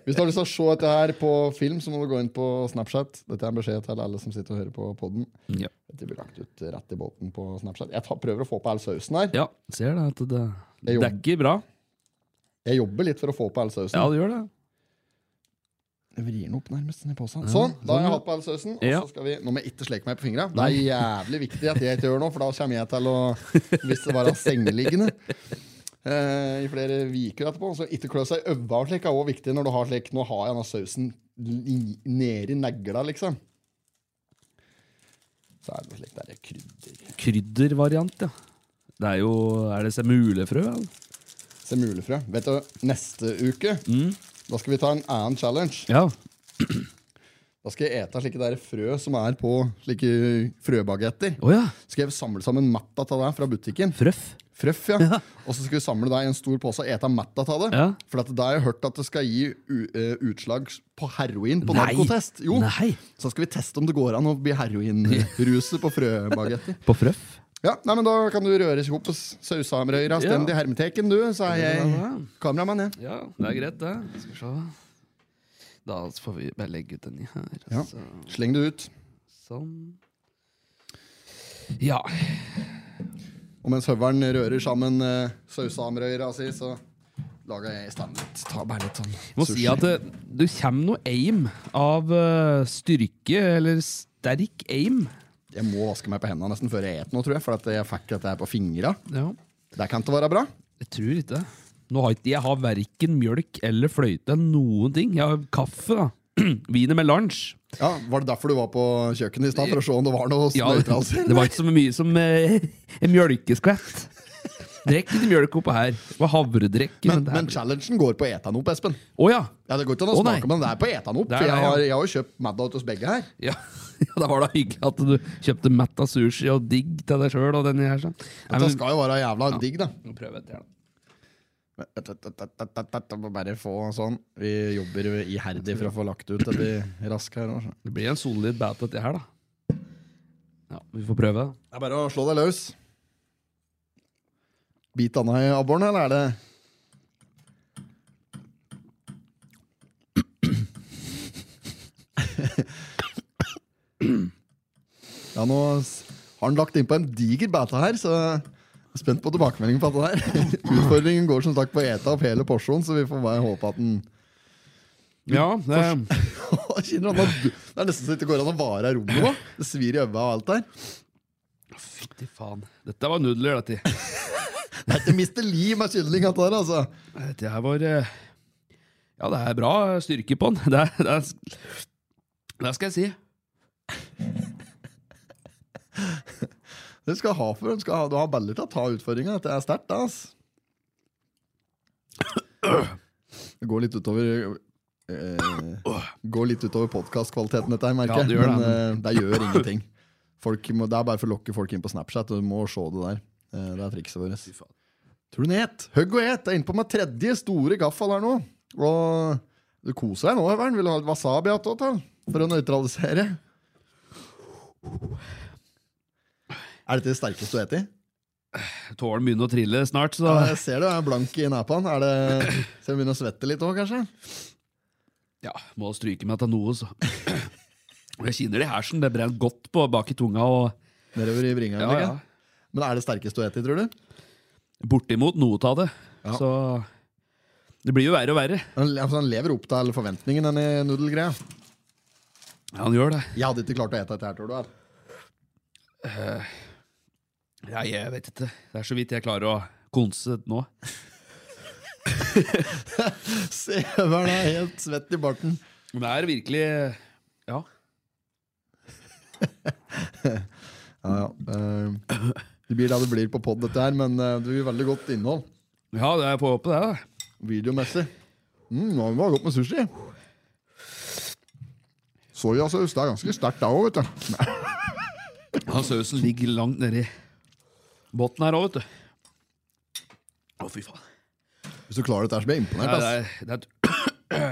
S2: Hvis du har lyst til å se dette her på film, så må du gå inn på Snapchat. Dette er en beskjed til alle som sitter og hører på podden.
S1: Ja.
S2: Dette blir lagt ut rett i båten på Snapchat. Jeg tar, prøver å få på all sausen her.
S1: ja, ser det at det
S2: Jeg
S1: Det er ikke bra.
S2: Jeg jobber litt for å få på all sausen.
S1: Ja, det gjør det.
S2: Jeg vrir den opp nærmest ned i posen. Sånn, da har jeg hatt på all sausen. Og
S1: Ja.
S2: så skal vi, Nå må jeg ikke sleke meg på fingra. Det er jævlig viktig at jeg ikke gjør noe, for da kommer jeg til å Hvis det bare er sengeliggende eh, i flere viker etterpå. Så ikke klø seg i øva og slik er også viktig når du har slik Nå har jeg denne sausen li- nedi negla, liksom. Så er det noe slik der krydder
S1: Kryddervariant, ja. Det er jo Er det semulefrø? eller?
S2: Semulefrø. Vet du, neste uke
S1: Mm.
S2: Da skal vi ta en annen challenge.
S1: Ja.
S2: Da skal jeg ete slike der frø som er på slike frøbagetter.
S1: Å ja.
S2: skal jeg samle sammen matta av deg fra butikken.
S1: Frøff.
S2: Frøff, ja. Og så skal vi samle deg i en stor pose og ete matta av det.
S1: Ja.
S2: For at da har jeg hørt at det skal gi u eh, utslag på heroin på
S1: Nei.
S2: narkotest. Jo.
S1: Nei.
S2: Så skal vi teste om det går an å bli heroinruset på frøbagetter.
S1: På frøff.
S2: Ja, nei, men Da kan du røre seg opp på sausamrøyra stendig i hermeteken, du. Så er jeg kameramann, jeg.
S1: Ja, det er greit, det. Skal vi se. Da får vi bare legge ut denne her.
S2: Ja.
S1: Så,
S2: Sleng det ut.
S1: sånn. Ja.
S2: Og mens høveren rører sammen eh, sausamrøyra si, så lager jeg standup. Ta bare litt sånn
S1: Jeg må si at det, du kommer noe aim av eh, styrke, eller sterk aim.
S2: Jeg må vaske meg på hendene nesten før jeg et noe, tror jeg. For at jeg fikk dette her på fingra.
S1: Ja.
S2: Det kan ikke være bra.
S1: Jeg tror ikke det. Nå har ikke, jeg har verken mjølk eller fløyte, noen ting. Jeg har kaffe, da. Wiener med lunsj.
S2: Ja, Var det derfor du var på kjøkkenet i stad? For å se om det var noe
S1: Ja, det
S2: snøytralser?
S1: var ikke så mye som eh, en mjølkeskvett. Drikk litt mjølk oppå her. Det var havredrikk.
S2: Men,
S1: det er
S2: men
S1: vel-
S2: challengen går på etanop, Espen.
S1: Å ja.
S2: Ja, Det går ikke an å
S1: Å, nei.
S2: smake, men det er på etanop.
S1: Det er
S2: For jeg
S1: det, ja.
S2: har, jeg har jo kjøpt Maddout hos begge her.
S1: ja! Ja, Da var det hyggelig at du kjøpte metta sushi og digg til deg sjøl og denne her. sånn. Nei,
S2: Det
S1: men,
S2: skal jo være jævla digg, da.
S1: Nå prøver jeg et til, da.
S2: Må Bare få sånn. Vi jobber jo iherdig for å få lagt ut dette raskt her. altså. nå.
S1: Det blir en solid bat dette her, da. Ja, vi får prøve.
S2: Det er bare å slå deg løs. Bit anna i abboren, eller er det Ja, nå s- har han lagt innpå en diger beta her, så jeg er spent på tilbakemeldingen på dette her. Utfordringen går som sagt på å ete opp hele porsjonen, så vi får bare håpe at den
S1: Ja,
S2: Mm,
S1: det,
S2: Jeg kjenner at den- Det er nesten så det ikke går an å vare i rommet nå. Det svir i øynene og alt der.
S1: Fytti faen. Dette var nudler, dette.
S2: Dette mister liv med kylling, dette her, altså.
S1: Dette her var eh, Ja, det er bra styrke på den. Det, er- det, er- det skal jeg si.
S2: Det skal jeg ha for hun skal ha, Du har baller til å ta utfordringa. Dette er sterkt, da, ass. Det går litt utover eh, Går litt utover podkastkvaliteten, dette her, merker
S1: Ja, det
S2: jeg.
S1: gjør det,
S2: Men eh, det gjør ingenting. Folk må, det er bare for å lokke folk inn på Snapchat. Du må se det der. Eh, det er trikset vårt. Tror du den het? Høgg og et. Jeg er inne på meg tredje store gaffel her nå. Og du koser deg nå, Høveren. Vil du ha litt wasabi attåt, da? For å nøytralisere. Er dette det sterkeste du spiser?
S1: Tåren begynner å trille snart, så
S2: Ja, jeg ser du er blank i nepen. Er det Ser du begynner å svette litt òg, kanskje?
S1: ja, må stryke meg til noe, så. Jeg kjenner det i hersen. Det brenner godt på bak i tunga. og
S2: Nedover i bringa.
S1: ja, ja.
S2: Men er det sterkest du spiser, tror du?
S1: Bortimot noe av det.
S2: Ja.
S1: Så det blir jo verre og verre.
S2: Han, altså, han lever opp til forventningen, denne nudelgreia.
S1: Ja, han gjør det.
S2: altså. Jeg hadde ikke klart å ete dette her, tror du. vel?
S1: Ja, jeg vet ikke. Det er så vidt jeg klarer å konse det nå.
S2: Severen er helt svett i barten.
S1: Men det er virkelig Ja.
S2: Ja, ja. eh, det blir det det blir på pod, dette her, men eh, det blir veldig godt innhold.
S1: Ja, det er på håpet, det. da.
S2: Videomessig. Mm, ja, det var godt med sushi. Soyasaus. Det er ganske sterkt, det òg, vet du.
S1: Ja, sausen ligger langt nedi bunnen her òg, vet du. Å, fy faen.
S2: Hvis du klarer dette, her, så blir jeg imponert.
S1: Nei, det
S2: ass.
S1: er, det er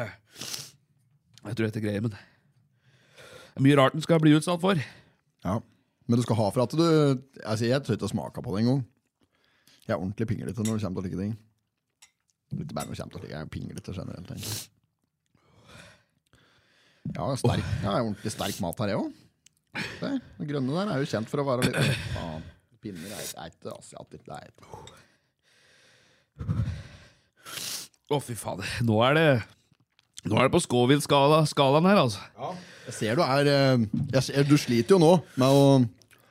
S1: Jeg tror dette greier, men det er mye rart den skal bli utsatt for.
S2: Ja. Men du skal ha for at du altså, Jeg tør ikke å smake på det engang. Jeg er ordentlig pinglete når det kommer til slike ting. Ikke bare når det kommer til slike, jeg er pinglete generelt. egentlig. Ja, sterk. ja, det er ordentlig sterk mat her, jeg òg. Den grønne der er jo kjent for å være litt Faen. Pinner er er ikke asiatisk. Det er ikke
S1: Å, fy fader. Nå er det Nå er det på Scoville-skalaen skalaen her, altså.
S2: Jeg ser du er eh, jeg ser, Du sliter jo nå med å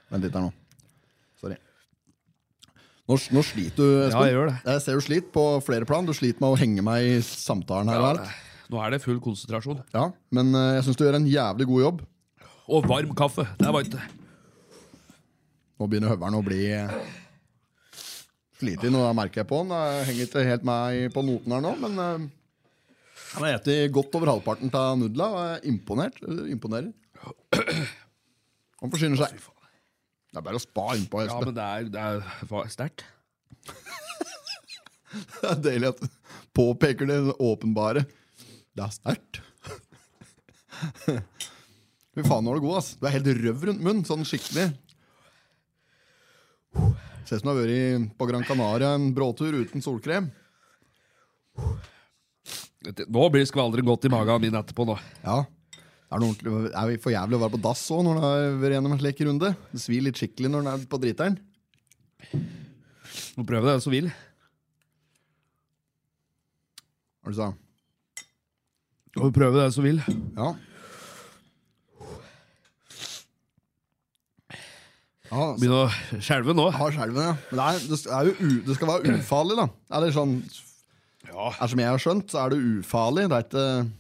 S2: Vent litt her nå. Sorry. Nå, nå sliter du, Espen.
S1: Ja, jeg gjør det.
S2: Jeg ser du sliter på flere plan. Du sliter med å henge meg i samtalen her. og alt.
S1: Nå er det full konsentrasjon.
S2: Ja, Men eh, jeg syns du gjør en jævlig god jobb.
S1: Og varm kaffe. Det var ikke
S2: Nå begynner høveren å bli eh, sliten. og Det merker jeg på den. Jeg henger ikke helt med i- på noten her nå, men eh, han har spist godt over halvparten av nudla og er imponert. eh, Imponerer. Han forsyner seg. Det er bare å spa innpå.
S1: Ja,
S2: Espen.
S1: men det er, det er var sterkt.
S2: Det er deilig at du påpeker det åpenbare. Det er sterkt. Fy faen, nå er du god, ass. Du er helt røv rundt munnen, sånn skikkelig. Ser ut som du har vært på Gran Canaria en bråtur uten solkrem.
S1: Dette- Nå blir skvaldren godt i magen min etterpå, nå.
S2: Ja. Det er, noe ordentlig, er vi for jævlig å være på dass òg når du har vært gjennom en slik runde? Det svir litt skikkelig når den er på driteren.
S1: Må prøve det, den som vil.
S2: Hva er det du sa?
S1: Må prøve det, den som vil.
S2: Ja. ja
S1: Begynn å skjelve nå.
S2: har skjelven, ja. Men det, er, det, er jo u, det skal være ufarlig, da. Eller sånn
S1: Ja.
S2: er Som jeg har skjønt, så er det ufarlig. Det er ikke,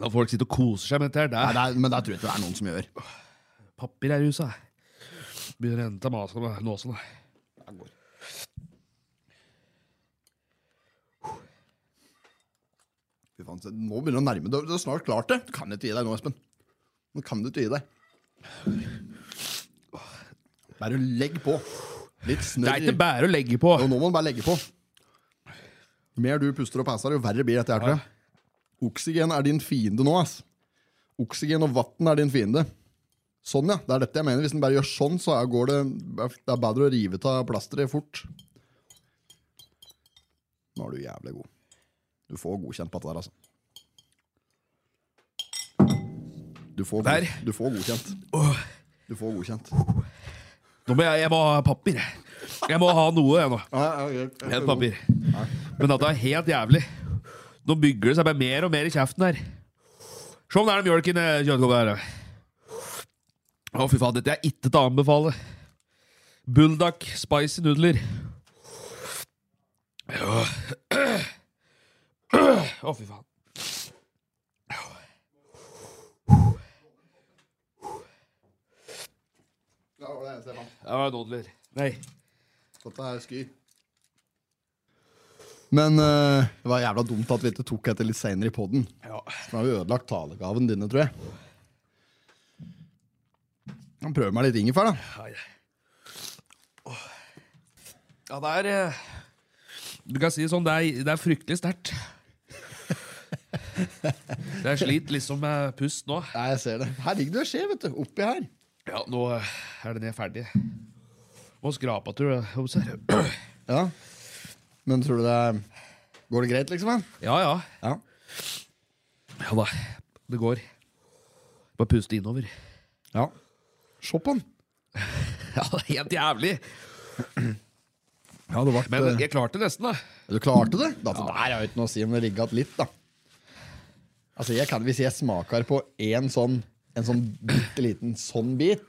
S1: La folk sitte og kose seg med dette her. Det er
S2: nei, det er, men det tror jeg ikke det er noen som gjør.
S1: papir her i huset. Begynner å renne til masen med nåsen.
S2: Fy faen, se, nå begynner det å nærme deg. Du er snart klart det. Du kan ikke gi deg nå, Espen. Nå kan du ikke gi deg. Bare legg på. Litt
S1: Det
S2: snørr.
S1: er ikke
S2: i-
S1: bare å legge på.
S2: Jo, Nå må du bare legge på. Jo mer du puster og passer, jo verre blir dette. her, tror jeg. Oksygen er din fiende nå, ass. Oksygen og vann er din fiende. Sånn, ja. Det er dette jeg mener. Hvis en bare gjør sånn, så er- går det Det er bedre å rive av plasteret fort. Nå er du jævlig god. Du får godkjent på dette der, altså. Du får,
S1: Der.
S2: God, du får godkjent. Du får godkjent.
S1: Nå må jeg, jeg må ha papir. Jeg må ha noe, jeg nå.
S2: Ja, ja, ja,
S1: Et papir. Men dette er helt jævlig. Nå bygger det seg bare mer og mer i kjeften her. Se om det er den mjølken i kjøttkoppen her. Å, fy faen, dette er ikke til å anbefale. Bulldog spicy nudler. Ja. Å, fy faen.
S2: Ja, det var det eneste jeg fant.
S1: Det var nudler. Nei.
S2: Dette er sky. Men eh, det var jævla dumt at vi ikke tok dette litt seinere i poden.
S1: Ja.
S2: Nå har vi ødelagt talegaven dine, tror jeg. Han prøver meg litt ingefær, da.
S1: Ai. Åh. Ja, det er eh, Du kan si det sånn, det er, det er fryktelig sterkt. Jeg sliter liksom med pust nå.
S2: Nei, jeg ser det. Her ligger det en skje, vet du. Oppi her.
S1: Ja, Nå eh, er det ned ferdig. Må skrape tror jeg. Observ.
S2: Ja. Men tror du det er Går det greit, liksom? da?
S1: Ja, ja.
S2: Ja.
S1: Ja da. Det går. Bare puste innover.
S2: ja. Se på den.
S1: Ja, det er helt jævlig.
S2: Ja, det ble
S1: Men jeg klarte det nesten, da.
S2: Du klarte det? Da, ja. Der er jo ikke noe å si om det ligger igjen litt, da. Altså, jeg kan, Hvis jeg smaker på en Mm. sånn En sånn bitte liten sånn bit,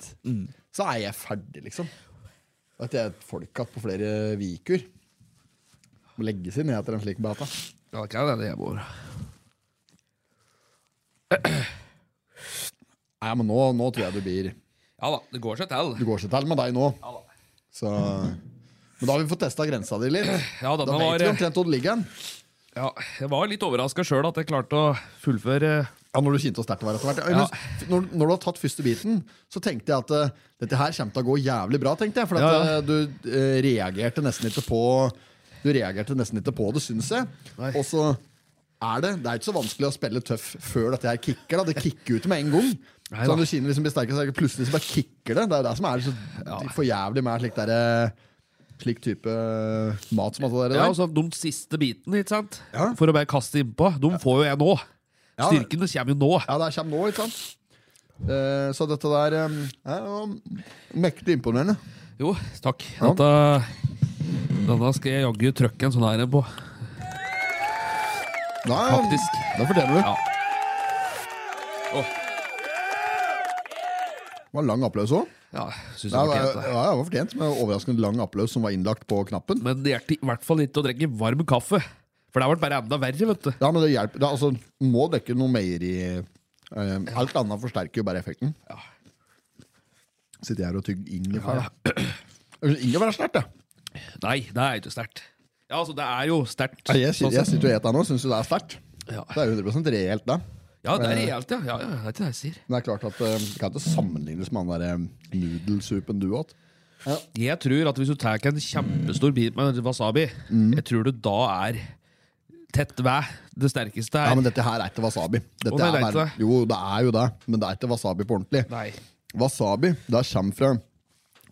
S2: så er jeg ferdig, liksom. At jeg er et folkatt på flere viker. Må legge seg ned etter en slik bata.
S1: Ja, det kan hende jeg bor.
S2: Nei, men nå, nå tror jeg du blir
S1: Ja da, det går seg til.
S2: Du går seg til med deg nå. Så Men da har vi fått testa grensa di litt.
S1: Ja, denne
S2: Da vet
S1: var,
S2: vi omtrent hvor det ligger den.
S1: ja, jeg var litt overraska sjøl at jeg klarte å fullføre
S2: Ja, når du kjente hvor sterkt det var etter hvert. Jeg
S1: Ja.
S2: hus- Når, når du har tatt første biten, så tenkte jeg at eh, dette her kommer til å gå jævlig bra. tenkte jeg, For at,
S1: Ja, ja.
S2: eh, du eh, reagerte nesten ikke på Du reagerte nesten ikke på det, syns jeg.
S1: Nei.
S2: Og så er det Det er ikke så vanskelig å spille tøff før dette her kicker. da, Det kicker ut med en gang.
S1: Nei
S2: så
S1: da.
S2: når kinen liksom blir sterkere, så er det plutselig så bare kicker det. Det er jo det som er så for jævlig med slik, der, eh, slik type eh, mat som alt det der.
S1: Ja, altså, De siste bitene, ikke sant?
S2: Ja.
S1: For å bare kaste innpå. De får jo jeg nå.
S2: Ja.
S1: Styrkene kommer jo nå.
S2: Ja, det kommer nå, ikke sant? Eh, så dette der eh, er jo mektig imponerende.
S1: Jo, takk. Dette, denne skal jeg jaggu trykke en sånn her en på.
S2: Da,
S1: Faktisk.
S2: Da fortjener du.
S1: Ja.
S2: Det var lang applaus òg.
S1: Ja, synes jeg
S2: Ja, det
S1: var pent,
S2: var-
S1: det.
S2: ja, det var fortjent med overraskende lang applaus som var innlagt på knappen.
S1: Men det hjelper i hvert fall ikke å drikke varm kaffe. For det har vært bare enda verre, vet du.
S2: Ja, men det hjelper. Det, er altså, må dekke noe mer i eh, Alt annet forsterker jo bare effekten.
S1: Ja.
S2: Sitter jeg her og tygger ingefær. da. Jeg synes Ingefær er sterkt, det.
S1: Nei, det er ikke sterkt. Ja, altså, det er jo sterkt.
S2: Ja, jeg,
S1: Sånn
S2: sitter- jeg sitter og eter nå, syns jo det er sterkt.
S1: sett. ja.
S2: Det er 100 reelt, det.
S1: ja, det er
S2: Eh.
S1: reelt, ja. ja, ja. Det er ikke det jeg sier.
S2: Men det er klart at eh, det kan ikke sammenlignes med den der eh, nudelsupen du åt.
S1: Jeg tror at hvis du tar en kjempestor bit med wasabi,
S2: Mm.
S1: jeg tror du da er tett ved det sterkeste her.
S2: Ja, men dette her er ikke wasabi. Dette
S1: Å, nei, det er
S2: er bare,
S1: ikke det.
S2: jo, det er jo det, men det er ikke wasabi på ordentlig.
S1: Nei.
S2: Wasabi, det kommer fra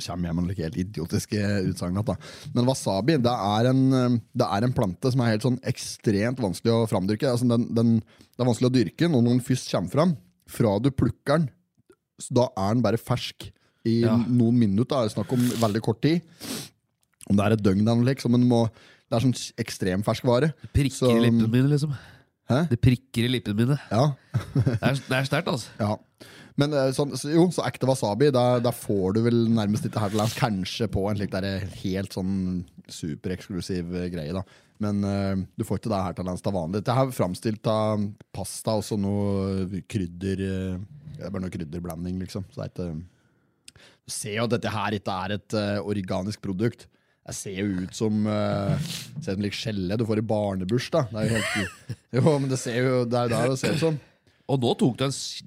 S2: Kommer jeg med noen helt idiotiske utsagn igjen, da. Men wasabi det er, en, eh, det er en plante som er helt sånn ekstremt vanskelig å framdyrke. Altså den, den, det er vanskelig å dyrke når den først kommer fram. Fra du plukker den, så da er den bare fersk i
S1: Ja.
S2: noen minutter. Det er snakk om veldig kort tid. Om det er et døgn, eller noe, så men den må, det er sånn ekstremfersk vare.
S1: Det prikker
S2: Så-
S1: i lippene mine, liksom.
S2: Hæ?
S1: Det prikker i lippene mine.
S2: Ja,
S1: Det er, det er sterkt, altså.
S2: Ja. Men eh, sånn, så, jo, så ekte wasabi, da, da får du vel nærmest ikke her til lands. Kanskje på en slik der eh, helt sånn supereksklusiv eh, greie, da. Men eh, du får ikke det her til lands til vanlig. Dette er framstilt av pasta og så noe krydder eh, Det er bare noe krydderblanding, liksom. Så det er ikke Du ser jo at dette her ikke er et eh, organisk produkt. Jeg ser jo ut som eh, Ser ut som litt skjelle du får i barnebursdag. Det er jo helt Jo, men det ser jo Det er jo det det ser ut som.
S1: Og nå tok du en s-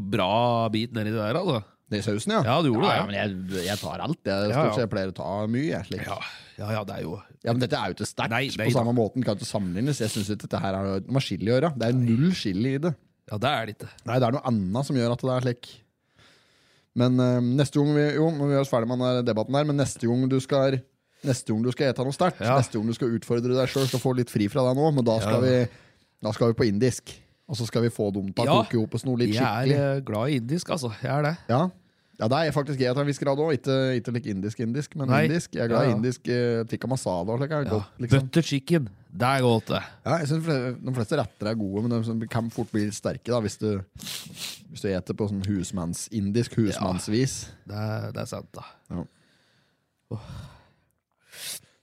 S1: bra bit nedi det der, altså.
S2: Det er sausen, ja?
S1: Ja, du gjorde det,
S2: ja,
S1: ja.
S2: men jeg, jeg tar alt. Jeg,
S1: Ja, ja.
S2: stort sett, jeg pleier å ta mye. Jeg, slik.
S1: Ja,
S2: Ja.
S1: ja, ja det er jo
S2: men Dette er jo ikke sterkt.
S1: Nei, nei,
S2: På samme måten kan det ikke sammenlignes. Jeg synes ikke dette her er noe det har chili å gjøre. Det er null chili i det.
S1: Ja, det er det ikke.
S2: Nei, det er noe annet som gjør at det er slik. Men eh, neste gang vi Jo, nå må vi gjøre oss ferdig med den der debatten der, men neste gang du skal Neste gang du skal ete noe sterkt,
S1: Ja.
S2: neste gang du skal utfordre deg sjøl, skal få litt fri fra deg nå, men da skal, vi, da skal vi på indisk. Og så skal vi få dem til å
S1: Ja.
S2: koke ihop oss noe litt
S1: Jeg er
S2: skikkelig.
S1: eh, glad i indisk, altså. Jeg er det.
S2: Ja. ja, det er jeg faktisk jeg til en viss grad òg. Ikke, ikke like indisk-indisk, men
S1: Nei.
S2: indisk. Jeg er glad i
S1: Ja, ja.
S2: indisk eh, tikka masala. Og slik, er
S1: Ja.
S2: godt, liksom.
S1: Butter chicken, det er godt, det.
S2: ja, jeg synes fle- De fleste retter er gode, men de som kan fort bli litt sterke da, hvis du Hvis du eter på sånn husmannsindisk husmannsvis.
S1: Det er, det er sant, da.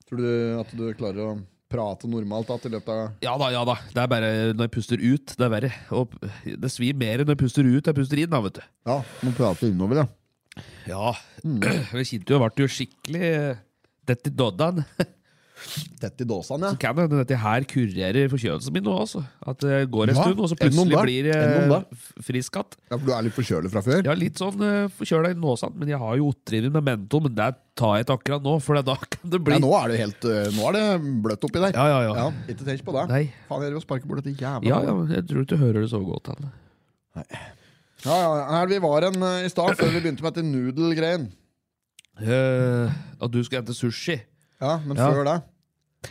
S2: Tror du at du klarer å prate normalt da, til løpet av
S1: Ja da, ja da. Det er bare når jeg puster ut, det er verre. Og det svir mer når jeg puster ut enn jeg puster inn, da, vet du.
S2: Ja, må prate innover, ja.
S1: Ja. Jeg kjente jo, jeg ble jo skikkelig Dette dodda'n.
S2: Tett i dåsene, ja.
S1: Kan hende dette her kurerer forkjølelsen min nå, altså. At det går en
S2: Ja,
S1: stund, og så
S2: enn om
S1: plutselig blir
S2: det, enn
S1: jeg
S2: om
S1: frisk igjen.
S2: ja. For du er litt forkjølet fra
S1: Jeg
S2: før?
S1: er litt sånn uh, forkjøla i nåsene, men jeg har jo otrivin med menton, men det tar jeg ikke akkurat nå, for da kan det bli
S2: Ja, nå er det helt eh, Nå er det bløtt oppi der.
S1: Ja, ja, ja.
S2: Ikke tenk på det.
S1: Nei.
S2: Faen, jeg driver og sparker bort dette jævla
S1: Ja, ja, men jeg tror ikke du hører det så godt. Anne.
S2: Ja, ja, her vi var en eh, i stad, før vi begynte med dette nudelgreien.
S1: Eh, at du skal hente sushi.
S2: Ja, men
S1: Ja.
S2: før det.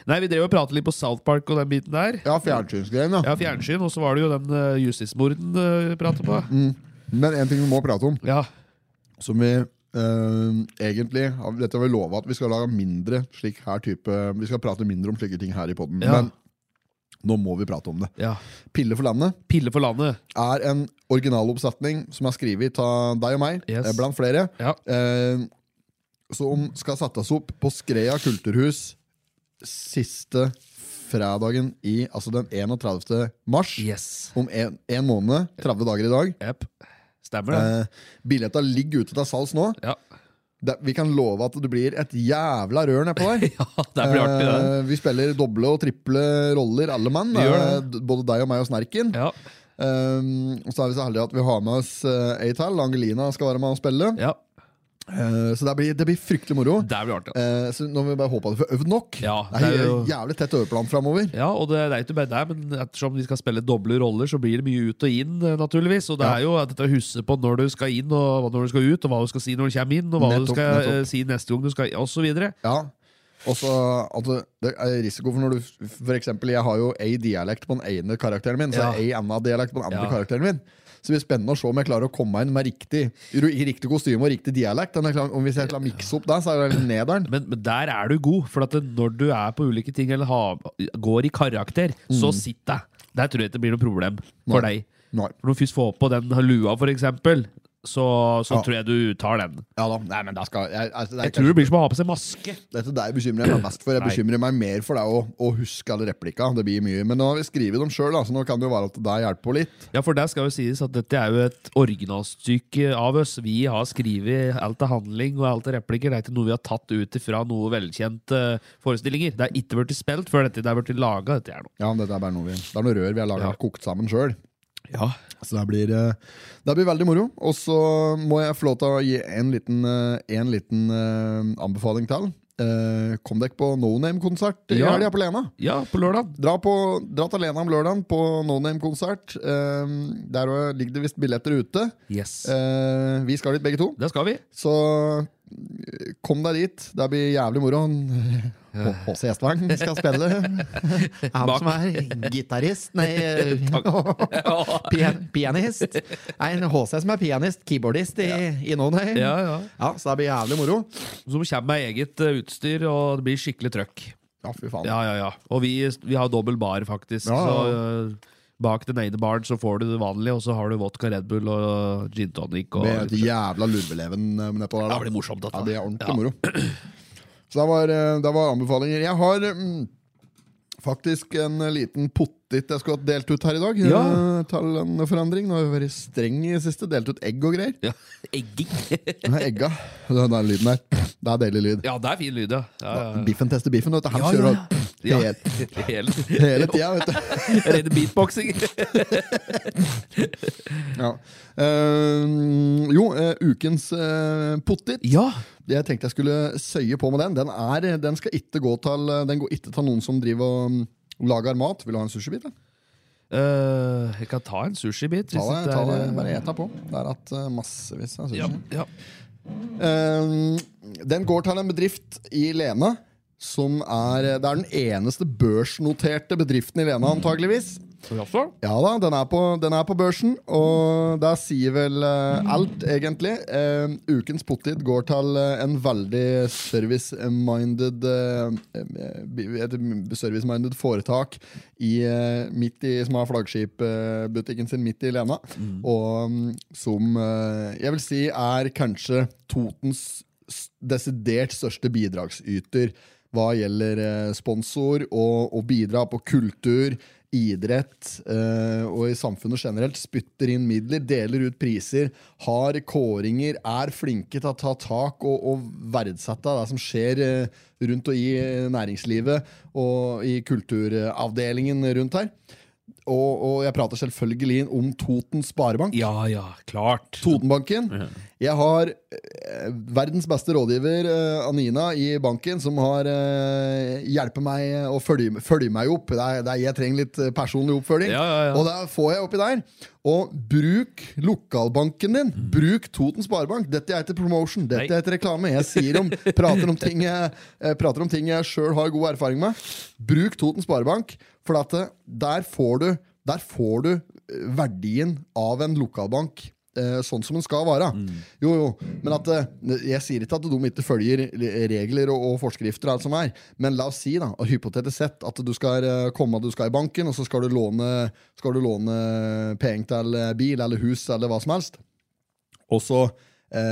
S1: Nei, vi drev og pratet litt på South Park og den biten der.
S2: Ja, fjernsynsgreien, ja.
S1: Ja, fjernsyn, og så var det jo den uh, justismorden eh, vi pratet på.
S2: Mm. Men en ting vi må prate om,
S1: Ja,
S2: som vi eh, egentlig har- Dette har vi lova at vi skal lage mindre slik her type Vi skal prate mindre om slike ting her i poden,
S1: Ja.
S2: men nå må vi prate om det.
S1: ja.
S2: Pille for landet
S1: Pille for landet.
S2: er en originaloppsetning som er skrevet av deg og meg,
S1: Yes.
S2: eh, blant flere.
S1: Ja.
S2: Eh, som skal settes opp på Skreia kulturhus siste fredagen i Altså den 31. mars.
S1: Yes.
S2: Om en, en måned, 30 dager i dag.
S1: Yep. Stemmer det.
S2: Eh, Billetta ligger ute til salgs nå.
S1: Ja.
S2: Det, vi kan love at det blir et jævla rør nedpå der.
S1: ja, det blir artig, det.
S2: Eh, vi spiller doble og triple roller, alle mann.
S1: Vi gjør
S2: Eh, d- Både deg og meg og Snerken.
S1: Ja.
S2: Eh, og så er vi så heldige at vi har med oss eh, Atal. Angelina skal være med og spille.
S1: ja.
S2: Eh, så det blir, det blir fryktelig moro.
S1: Det blir artig. ass.
S2: Eh, så nå må vi bare håpe at vi får øvd nok.
S1: Ja,
S2: det
S1: det
S2: er
S1: er
S2: jo...
S1: jo-
S2: jævlig tett øveplan framover.
S1: Ja, og det, det er ikke bare det, men ettersom de skal spille doble roller, så blir det mye ut og inn, eh, naturligvis. Og det
S2: Ja.
S1: er jo dette å huske på når du skal inn, og hva- når du skal ut, og hva du skal si når du kommer inn, og hva
S2: Nettopp,
S1: du skal eh,
S2: nettopp.
S1: si neste gang du skal og så videre.
S2: Ja. Og så at det- det er risiko for når du For eksempel, jeg har jo ei dialekt på den ene karakteren min, så
S1: Ja.
S2: er ei anna dialekt på den andre
S1: Ja.
S2: karakteren min. Så det blir spennende å se om jeg klarer å komme inn med riktig i riktig kostyme og riktig dialekt. Den er klar, om hvis jeg klarer å mikse opp det, så er det nederen.
S1: Men, men der er du god, for at det, når du er på ulike ting eller har, går i karakter, så sitter jeg. Der tror jeg ikke det blir noe problem for
S2: Mm. Nei.
S1: deg.
S2: Nei.
S1: For Når du først får på den lua, for eksempel, så, så
S2: Ja.
S1: tror jeg du tar den.
S2: Ja da. Nei, men da skal jeg, altså, det er
S1: Jeg tror det blir som å ha på seg maske.
S2: Dette der bekymrer jeg meg mest for. Jeg
S1: Nei.
S2: bekymrer meg mer for det å, å huske alle replikka. Det blir mye. Men nå har vi skrevet dem sjøl, så nå kan det jo være at det hjelper på litt.
S1: Ja, for det skal jo sies at dette er jo et originalstykke av oss. Vi har skrevet alt av handling og alt av replikker. Det er ikke noe vi har tatt ut fra noe velkjente eh, forestillinger. Det er ikke blitt spilt før dette. Det er blitt laga, dette her nå.
S2: Ja, men dette er bare noe vi Det er noe rør vi har laget,
S1: Ja.
S2: kokt sammen sjøl.
S1: Ja.
S2: Så det blir, eh, det blir veldig moro. Og så må jeg få lov til å gi en liten, eh, en liten eh, anbefaling til. Eh, Kom dere på No Name-konsert i
S1: Ja.
S2: helga på Lena?
S1: Ja, på lørdag.
S2: Dra, på, dra til Lena om lørdagen på No Name-konsert. Eh, Der også ligger det visst billetter ute.
S1: Yes.
S2: Eh, Vi skal dit, begge to.
S1: Det skal vi.
S2: Så eh, kom deg dit. Det blir jævlig moro. Han- H- H.C. Gjestvang skal spille. Han
S1: Bak.
S6: som er gitarist Nei, pian, pianist. Nei, en HC som er pianist, keyboardist i, i No Name.
S1: Ja, ja.
S2: Ja, så det blir jævlig moro.
S1: Som kommer med eget eh, utstyr, og det blir skikkelig trøkk.
S2: Ja, fy faen.
S1: Ja, ja, ja. Og vi, vi har dobbel bar, faktisk.
S2: Ja, ja, ja.
S1: Så eh, bak den ene baren så får du det vanlige, og så har du vodka Red Bull og gin tonic. Og
S2: Med et jævla lurveleven eh, nedpå
S1: Ja,
S2: der. da.
S1: det blir morsomt, dette.
S2: Ja, det er ordentlig
S1: Ja.
S2: moro. Så det var, eh, det var anbefalinger. Jeg har mm, faktisk en eh, liten pottit jeg skulle hatt delt ut her i dag.
S1: Ja.
S2: eh, Til en forandring. Nå har jeg vært streng i det siste. Delt ut egg og greier.
S1: Ja. Egging.
S2: Nei, egga. Den der lyden der. Det er deilig lyd.
S1: Ja, det er fin lyd, ja. ja, ja.
S2: Biffen tester biffen, vet du. Han
S1: Ja,
S2: kjører
S1: ja,
S2: ja.
S1: ja.
S2: Hele,
S1: Hele,
S2: hele tida, vet du.
S1: Rene beatboxing.
S2: Ja. Eh, jo, eh, ukens eh, pottit.
S1: Ja.
S2: Jeg tenkte jeg skulle søye på med den. Den, er, den skal ikke gå til Den går ikke til noen som driver og mm, lager mat. Vil du ha en sushibit? eller?
S1: Eh, jeg kan ta en sushibit.
S2: Ta
S1: hvis
S2: deg,
S1: det
S2: ta
S1: er,
S2: deg,
S1: eh,
S2: bare et deg på. Det er at eh, massevis av sushi.
S1: ja, ja.
S2: Eh, den går til en bedrift i Lena som er eh, Det er den eneste børsnoterte bedriften i Lena, antageligvis.
S1: Jaså?
S2: Ja da, den er på, den er på børsen, og der sier vel eh, alt, egentlig. Eh, ukens pottit går til eh, en veldig service-minded eh, eh, bi- et service-minded foretak i, eh, midt i, som har flaggskipbutikken sin midt i Lena. Og mm, som eh, jeg vil si er kanskje Totens s- desidert største bidragsyter hva gjelder eh, sponsor og, og bidra på kultur, idrett eh, og i samfunnet generelt. Spytter inn midler, deler ut priser, har kåringer, er flinke til å ta tak og, og verdsette det som skjer eh, rundt og i eh, næringslivet og i kulturavdelingen rundt her. Og, og jeg prater selvfølgelig om Toten Sparebank.
S1: Ja, ja, klart.
S2: Totenbanken. Jeg har eh, verdens beste rådgiver, eh, Anina, i banken, som har eh, hjulpet meg å følge, følge meg opp. Det er, det er, jeg trenger litt eh, personlig oppfølging.
S1: Ja, ja, ja.
S2: Og det får jeg oppi der. Og bruk lokalbanken din. Bruk Toten Sparebank. Dette er ikke promotion, dette
S1: Mm. Nei.
S2: er ikke reklame. Jeg sier om, prater om ting jeg, jeg prater om ting jeg sjøl har god erfaring med. Bruk Toten Sparebank, for at eh, der får du der får du eh, verdien av en lokalbank eh, sånn som den skal være. Jo, jo, men at eh, Jeg sier ikke at de ikke følger regler og, og forskrifter, og alt som er, men la oss si, da, og hypotetisk sett, at du skal eh, komme du skal i banken, og så skal du låne, skal du låne penger til eh, bil eller hus eller hva som helst. Og så eh,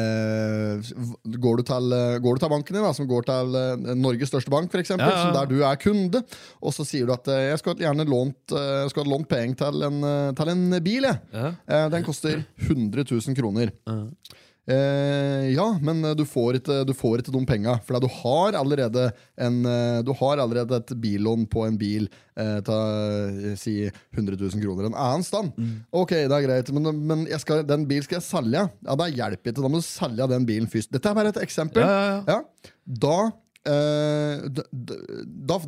S2: v- går, du til, eh, går du til banken din, da, som går til eh, Norges største bank, for eksempel,
S1: Ja, ja, ja.
S2: som der du er kunde, og så sier du at eh, jeg skulle hatt gjerne lånt, eh, jeg skulle hatt lånt penger til, en, eh, til en bil. Jeg.
S1: Ja.
S2: Eh, den koster 100 000 kroner. Eh, ja, men eh, du får ikke, du får ikke de penga, for du har allerede en, eh, Du har allerede et billån på en bil eh, ta, eh, si 100 000 kroner en annen stand.
S1: Mm.
S2: Ok, det er greit, men, men jeg skal, den bilen skal jeg selge. Ja, Det hjelper ikke. Da må du selge den bilen først. Dette er bare et eksempel.
S1: Ja, ja, ja.
S2: Ja, da eh, da, da,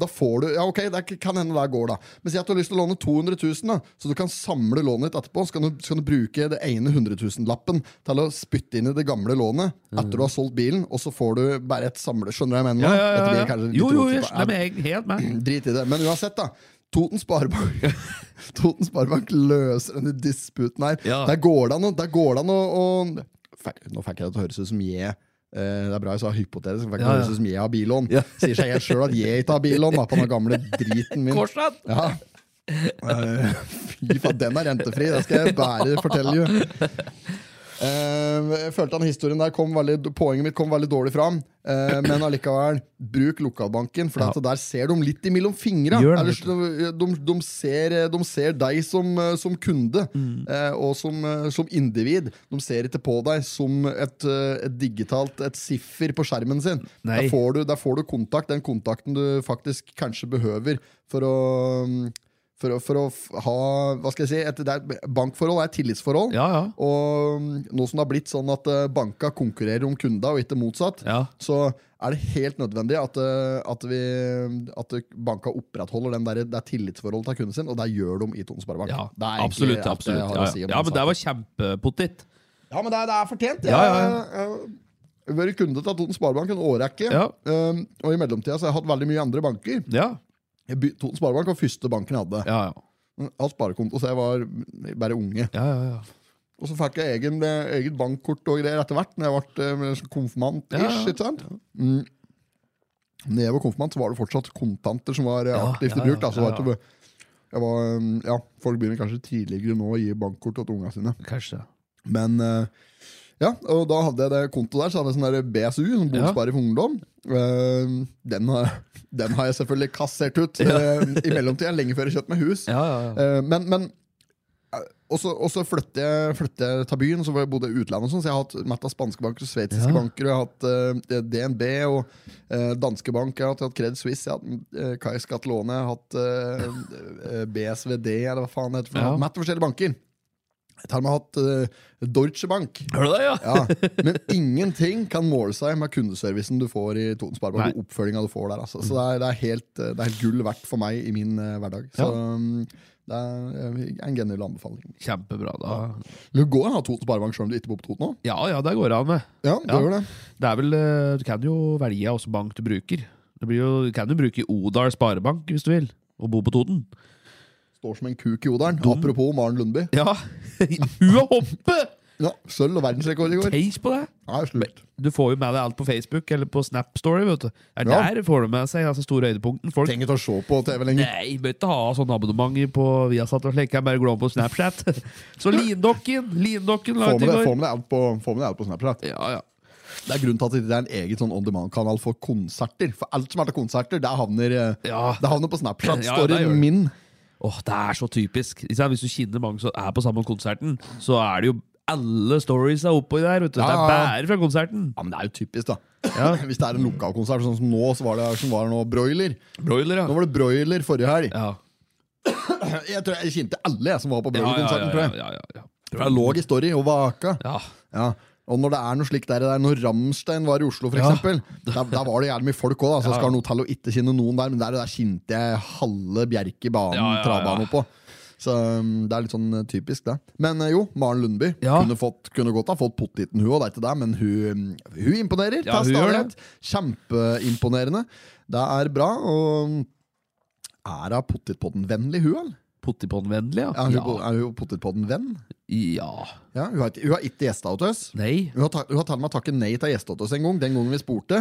S2: da får du Ja, ok, det er- kan hende det går, da. Men si at du har lyst til å låne 200 000, da, så du kan samle lånet ditt etterpå. Så kan du, så kan du bruke det ene 100 000-lappen til å spytte inn i det gamle lånet etter du har solgt bilen, og så får du bare et samle... Skjønner du hva jeg mener? nå?
S1: Mm. Ja, ja,
S2: Dette
S1: ja,
S2: blir
S1: ja.
S2: kanskje litt
S1: Jo, jo,
S2: rotete,
S1: jeg
S2: da.
S1: skjønner meg helt med.
S2: Drit i det. Men uansett, da. Toten Sparebank Toten Sparebank løser denne disputen her.
S1: Ja.
S2: Der går det an å der går det an å, å Fe- Nå fikk jeg det til å høres ut som jeg eh, det er bra jeg sa hypotetisk, men
S1: Ja,
S2: fikk det til å
S1: ja.
S2: høres ut som jeg har billån.
S1: Ja.
S2: Sier seg helt sjøl at jeg ikke har billån da, på den gamle driten min.
S1: Korsland!
S2: Ja. Eh, Fy faen, den er rentefri, det skal jeg bare fortelle you. Eh, Jeg følte han historien der kom veldig, Poenget mitt kom veldig dårlig fram, eh, men allikevel, bruk lokalbanken, for
S1: Ja.
S2: at der ser de litt imellom fingra.
S1: Gjør det,
S2: Ellers, de, de, de, ser, eh, de ser deg som, eh, som kunde
S1: Mm.
S2: eh, og som, eh, som individ. De ser ikke på deg som et, eh, et digitalt Et siffer på skjermen sin.
S1: Nei.
S2: Der får, du, der får du kontakt, den kontakten du faktisk kanskje behøver for å for, å- for å f- ha hva skal jeg si, et, det er, Bankforhold er et tillitsforhold.
S1: Ja, ja.
S2: Og mm, nå som det har blitt sånn at eh, banka konkurrerer om kunda, og ikke motsatt,
S1: Ja.
S2: så er det helt nødvendig at, eh, at, vi, at banka opprettholder den der, det er tillitsforholdet til kunden sin, og det gjør de i Tone Sparebank.
S1: Ja,
S2: Det er egentlig
S1: absolutt.
S2: alt jeg
S1: absolutt.
S2: har å
S1: Ja,
S2: si
S1: ja.
S2: om
S1: ja,
S2: den
S1: men det var kjempepottit.
S2: ja, men det er, det er fortjent. Jeg
S1: Ja, ja,
S2: jeg har vært Eh, kunde til Toten Sparebank en årrekke.
S1: Ja.
S2: Um, og i mellomtida så har jeg hatt veldig mye andre banker.
S1: Ja.
S2: Jeg by- Toten Sparebank var første banken jeg hadde. Mm,
S1: Ja, ja.
S2: Jeg hadde sparekonto, så jeg var bare unge.
S1: ja, ja, ja.
S2: Og så fikk jeg egen, eh, eget bankkort og greier etter hvert, når jeg ble eh, sånn konfirmant-ish.
S1: Ja, ja.
S2: ikke sant? Mm. Når jeg var konfirmant, så var det fortsatt kontanter som var eh,
S1: Ja,
S2: aktivt
S1: ja,
S2: i bruk. Da,
S1: ja,
S2: så var
S1: ja,
S2: det ikke- jeg var, um, ja, folk begynner kanskje tidligere nå å gi bankkort til unga sine.
S1: Kanskje.
S2: Men eh, ja, og da hadde jeg det kontoet der, så hadde jeg sånn der BSU, sånn
S1: Ja.
S2: Bosparing for ungdom. Eh, den, har, den har jeg selvfølgelig kassert ut eh, i mellomtida, lenge før jeg kjøpte meg hus.
S1: Ja, ja, ja.
S2: Eh, men men eh, og så og så flyttet jeg, flyttet jeg til byen, så var jeg bodde jeg i utlandet. og sånn, Så jeg har hatt mett av spanske banker og
S1: Ja.
S2: sveitsiske banker. Og jeg har hatt eh, DNB og eh, danske bank. Jeg har hatt, jeg har hatt Credit Suisse, jeg har hatt eh, Kai Skattelåne, jeg har hatt eh, eh, BSVD, eller hva faen det heter. for noe.
S1: Ja.
S2: Jeg har hatt Mett av forskjellige banker. Jeg har til og med hatt eh, Deutsche Bank.
S1: Hører du det, ja?
S2: Ja, Men ingenting kan måle seg med kundeservicen du får i Toten Sparebank. og oppfølgingen du får der altså. Så det er, det, er helt, eh, det er helt gull verdt for meg i min eh, hverdag. Så um, det er eh, en genial anbefaling.
S1: Kjempebra, da.
S2: Du går an å ha Toten Sparebank selv om du ikke bor på Toten òg?
S1: Ja, ja, det går an, det.
S2: Ja, det
S1: Ja.
S2: gjør det.
S1: Det er vel, eh, Du kan jo velge hvilken bank du bruker. Det blir jo, du kan jo bruke Odal sparebank hvis du vil, og bo på Toten.
S2: Står som en kuk i oderen. Apropos Maren Lundby.
S1: Ja! Hun og hoppe!
S2: Ja, Sølv og verdensrekord i går.
S1: Tenk på det!
S2: Nei, slutt.
S1: Du får jo med deg alt på Facebook eller på Snap Story. vet du. Det er
S2: Ja.
S1: der får du med seg altså, store høydepunkten. Folk
S2: Trenger ikke å se på TV lenger.
S1: Nei, bør ikke ha sånn abonnement på Viasat og slik. Jeg bare glad på Snapchat. Så Lindokken! Lindokken
S2: Få
S1: la ut i
S2: med det, få
S1: går.
S2: med det alt på, få med det alt på Snapchat.
S1: Ja, ja.
S2: Det er grunnen til at det ikke er en egen sånn on demand-kanal for konserter. For alt som er til konserter, det havner, eh,
S1: Ja.
S2: det havner på
S1: Ja, det gjør
S2: Snapchat-storyen
S1: det.
S2: min.
S1: Åh, det er så typisk. Ikke sant? Hvis du kjenner mange som er på samme konserten, så er det jo alle stories er oppå der. vet du. Det
S2: Ja,
S1: er
S2: ja,
S1: bare fra konserten.
S2: Ja, men det er jo typisk, da. Hvis det er en lokalkonsert, sånn som nå, så var det som var nå broiler.
S1: Broiler,
S2: Nå var det broiler forrige helg.
S1: Ja,
S2: Jeg tror jeg kjente alle jeg som var på
S1: ja, ja.
S2: broilerkonserten,
S1: ja,
S2: tror jeg.
S1: ja, ja,
S2: For jeg lå i story og vaka.
S1: ja.
S2: Ja. Og når det er noe slikt der, der når Ramstein var i Oslo, for
S1: Ja.
S2: eksempel, der, der var det jævlig mye folk òg, så skal noe til å ikke kjenne noen der, men der, der kjente jeg halve Bjerkebanen,
S1: Ja, ja, ja.
S2: travbanen på. Så um, det er litt sånn eh, typisk, det. Men eh, jo, Maren Lundby
S1: Ja.
S2: kunne, fått, kunne godt ha fått pottiten, hun òg, det er ikke det, men hun, um, hun imponerer.
S1: Ja, hun
S2: til
S1: gjør
S2: stadighet. Kjempeimponerende. Det er bra. Og um, er hun pottitpodden-vennlig, hun, eller?
S1: Pottiponnvennlig, ja.
S2: Er hun,
S1: ja.
S2: er hun pottitpodden-venn?
S1: Ja
S2: Ja, hun har ikke- hun har ikke gjesta hos oss.
S1: Nei.
S2: Hun har, ta, hun har tatt meg takke nei til gjester hos oss en gang, den gangen vi spurte.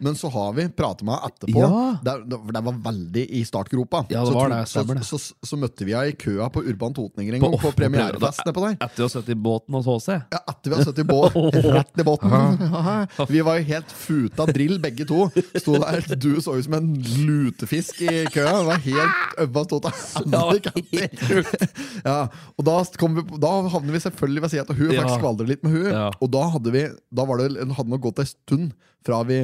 S2: Men så har vi pratet med henne etterpå.
S1: Ja.
S2: Det, det, det var veldig i startgropa.
S1: Ja, det
S2: så,
S1: var
S2: tro-
S1: det, stemmer det.
S2: Så, så, så, møtte vi henne i køa på Urban Totninger en gang, på, premierefest nedpå der.
S1: Etter å ha sittet i båten hos HC.
S2: Ja, etter vi har sittet i båt, rett i båten. Vi var jo helt futa drill, begge to. Sto der, Du så ut som en lutefisk i køa. Det var helt øva stått av andre kanter. Ja, og da, kom vi, på- da havner vi selvfølgelig ved siden av hun og
S1: Ja.
S2: faktisk skvaldrer litt med hun.
S1: Ja.
S2: Og da hadde vi Da var det, hadde det nok gått en stund fra vi,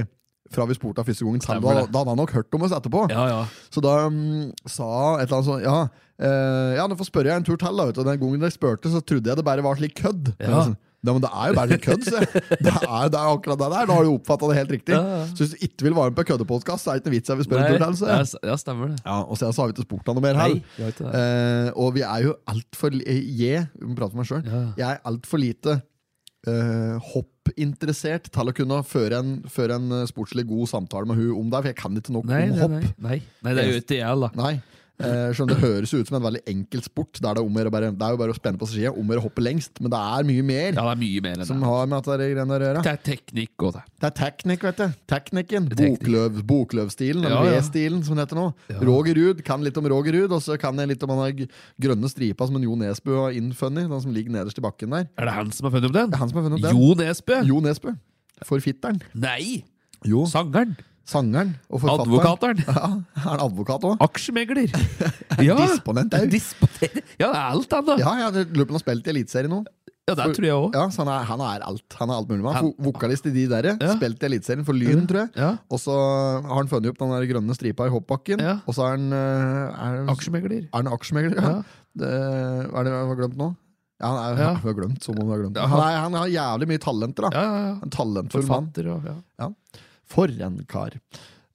S2: fra vi spurte henne første gangen. Da,
S1: Stemmer
S2: da
S1: det.
S2: hadde han nok hørt om oss etterpå.
S1: Ja, ja.
S2: Så da mm, sa hun et eller annet sånn Ja, eh, ja nå får spørre jeg en tur til. da, vet du. Og Den gangen dere spurte, så trodde jeg det bare var slik kødd. Men
S1: Ja.
S2: sånn, «Nei, men det er jo bare litt kødd, så det er, det er jo akkurat det der. Da har du oppfatta det helt riktig.
S1: Ja, ja.
S2: Så hvis du ikke vil være med på køddepodkast, så er det ikke noe vits jeg vil spørre en tur til.
S1: ja,
S2: så.
S1: s- ja, stemmer det.
S2: Ja, og siden så har vi ikke spurt han noe mer
S1: Nei,
S2: her.
S1: vi har ikke det.
S2: Eh, og vi er jo altfor Jeg må prate med meg selv
S1: Ja.
S2: Jeg er altfor lite eh, hoppinteressert til å kunne føre en, føre en eh, sportslig god samtale med hun om det. For jeg kan ikke nok
S1: Nei,
S2: om
S1: nei,
S2: hopp.
S1: nei, nei. nei, det er jo ikke jeg, da.
S2: Nei. Eh, skjønner, det høres jo ut som en veldig enkel sport. Der det, er om å gjøre å bare, det er jo bare å spenne på skia, om å gjøre å hoppe lengst. Men det er mye mer
S1: Ja, det er mye mer enn
S2: som
S1: det.
S2: har med dette greiene å gjøre.
S1: Det er teknikk og det.
S2: Det er teknikk, vet du. Teknikken.
S1: Teknikk.
S2: Bokløv, bokløvstilen, eller
S1: Ja, ja.
S2: V-stilen, som det heter nå. Roger Ruud kan litt om Roger Ruud, og så kan jeg litt om han der grønne stripa som en Jo Nesbø har innfunnet. Den som ligger nederst i bakken der.
S1: Er det han som har funnet opp den?
S2: Det er han som har funnet opp den.
S1: Jo Nesbø?
S2: Jo Nesbø. Forfitteren.
S1: Nei!
S2: Jo.
S1: Sangeren.
S2: Sangeren og forfatteren.
S1: Advokateren.
S2: Ja, er han advokat òg?
S1: Aksjemegler. Ja.
S2: Disponent er jo-
S1: Disponent. Ja, det er alt, han, da. Ja,
S2: Ja, ja, det- lurer på om han har spilt i Eliteserien nå.
S1: det tror jeg òg.
S2: Ja, så han er, han er alt. Han er alt mulig. med. Han
S1: Han-
S2: er vo- vokalist i de der. eh,
S1: Ja.
S2: Spilt i Eliteserien for Lyn, tror jeg.
S1: Ja.
S2: Og så har han funnet opp den der grønne stripa i hoppbakken.
S1: Ja.
S2: Og så er han eh, Er,
S1: Aksjemegler.
S2: er han aksjemegler? Ja.
S1: Ja.
S2: Det, hva er det jeg har glemt nå? Ja, han er,
S1: Ja.
S2: han har glemt, som om han har glemt.
S1: Ja.
S2: Han, er, han har jævlig mye talenter, da.
S1: Ja, ja, ja.
S2: En talentfull mann.
S1: Forfatter og ja.
S2: For en kar.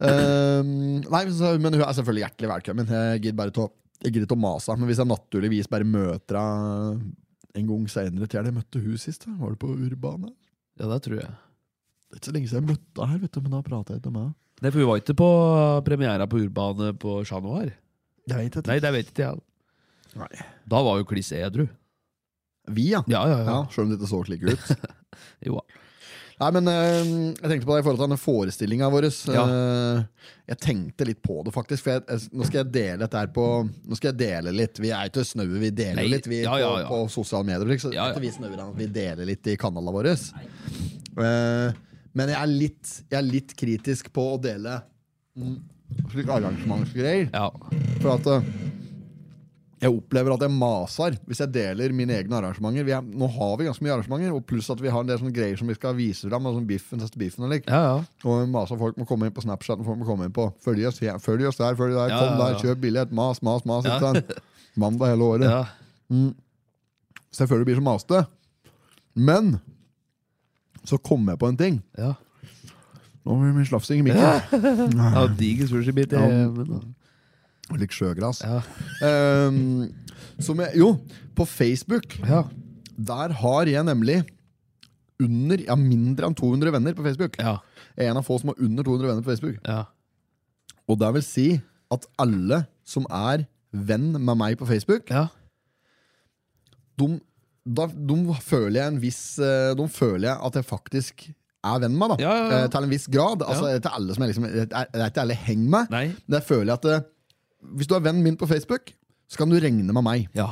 S2: Ehm, nei, så, men hun er selvfølgelig hjertelig velkommen. Jeg gidder bare til å jeg gidder ikke å mase, men hvis jeg naturligvis bare møter henne en gang seinere til jeg møtte hun sist, da, var det på Urbane?
S1: ja, det tror jeg.
S2: Det er ikke så lenge siden jeg møtte henne her, vet du, men da pratet jeg ikke med henne.
S1: Nei, for vi var ikke på premiera på Urbane på Chat Noir.
S2: Jeg vet ikke.
S1: Nei, det vet ikke jeg.
S2: Nei.
S1: Da var jo Kliss edru.
S2: Vi, ja.
S1: Ja, ja, ja.
S2: ja. Selv om det ikke så slik ut.
S1: Jo,
S2: Nei, men eh, jeg tenkte på det i forhold til denne forestillinga vår. eh,
S1: Ja.
S2: jeg tenkte litt på det, faktisk. For jeg, jeg, nå skal jeg dele dette her på Nå skal jeg dele litt. Vi er ikke snaue, vi deler
S1: Nei,
S2: litt vi
S1: ja, ja, ja.
S2: På, på sosiale medier. Liksom.
S1: Ja, ja.
S2: At vi snauer at vi deler litt i kanalene våre. Eh, men jeg er, litt, jeg er litt kritisk på å dele mm, slike arrangementsgreier.
S1: ja.
S2: For at eh, jeg opplever at jeg maser hvis jeg deler mine egne arrangementer. Vi er, nå har vi ganske mye arrangementer, og pluss at vi har en del sånne greier som vi skal vise fram. Og sånn biffen, siste biffen og lik.
S1: ja, ja.
S2: Og jeg maser folk må komme inn på Snapchat og folk må komme inn på Følg oss, her, følg oss der, følg der,
S1: Ja,
S2: kom
S1: ja, ja.
S2: der, kjøp billett, mas, mas, mas.
S1: Ja.
S2: ikke sant? Mandag hele året.
S1: ja.
S2: Så jeg føler det blir så masete. Men så kom jeg på en ting.
S1: ja.
S2: Nå blir det mye slafsing i mikken.
S1: ja Diger sushibit i
S2: Ja.
S1: men da.
S2: Og litt sjøgras.
S1: Ja.
S2: Ehm, som jeg, jo, på Facebook
S1: Ja.
S2: Der har jeg nemlig under, ja, mindre enn 200 venner på Facebook.
S1: Ja.
S2: Jeg er en av få som har under 200 venner på Facebook.
S1: ja.
S2: Og det vil si at alle som er venn med meg på Facebook,
S1: ja.
S2: de, da, de føler jeg en viss eh, De føler jeg at jeg faktisk er venn med, da.
S1: Ja, ja, ja.
S2: Eh, Til en viss grad. Altså, til alle som jeg liksom, det er det er ikke alle jeg henger med.
S1: Nei.
S2: Men jeg føler at eh, hvis du er vennen min på Facebook, så kan du regne med meg.
S1: Ja.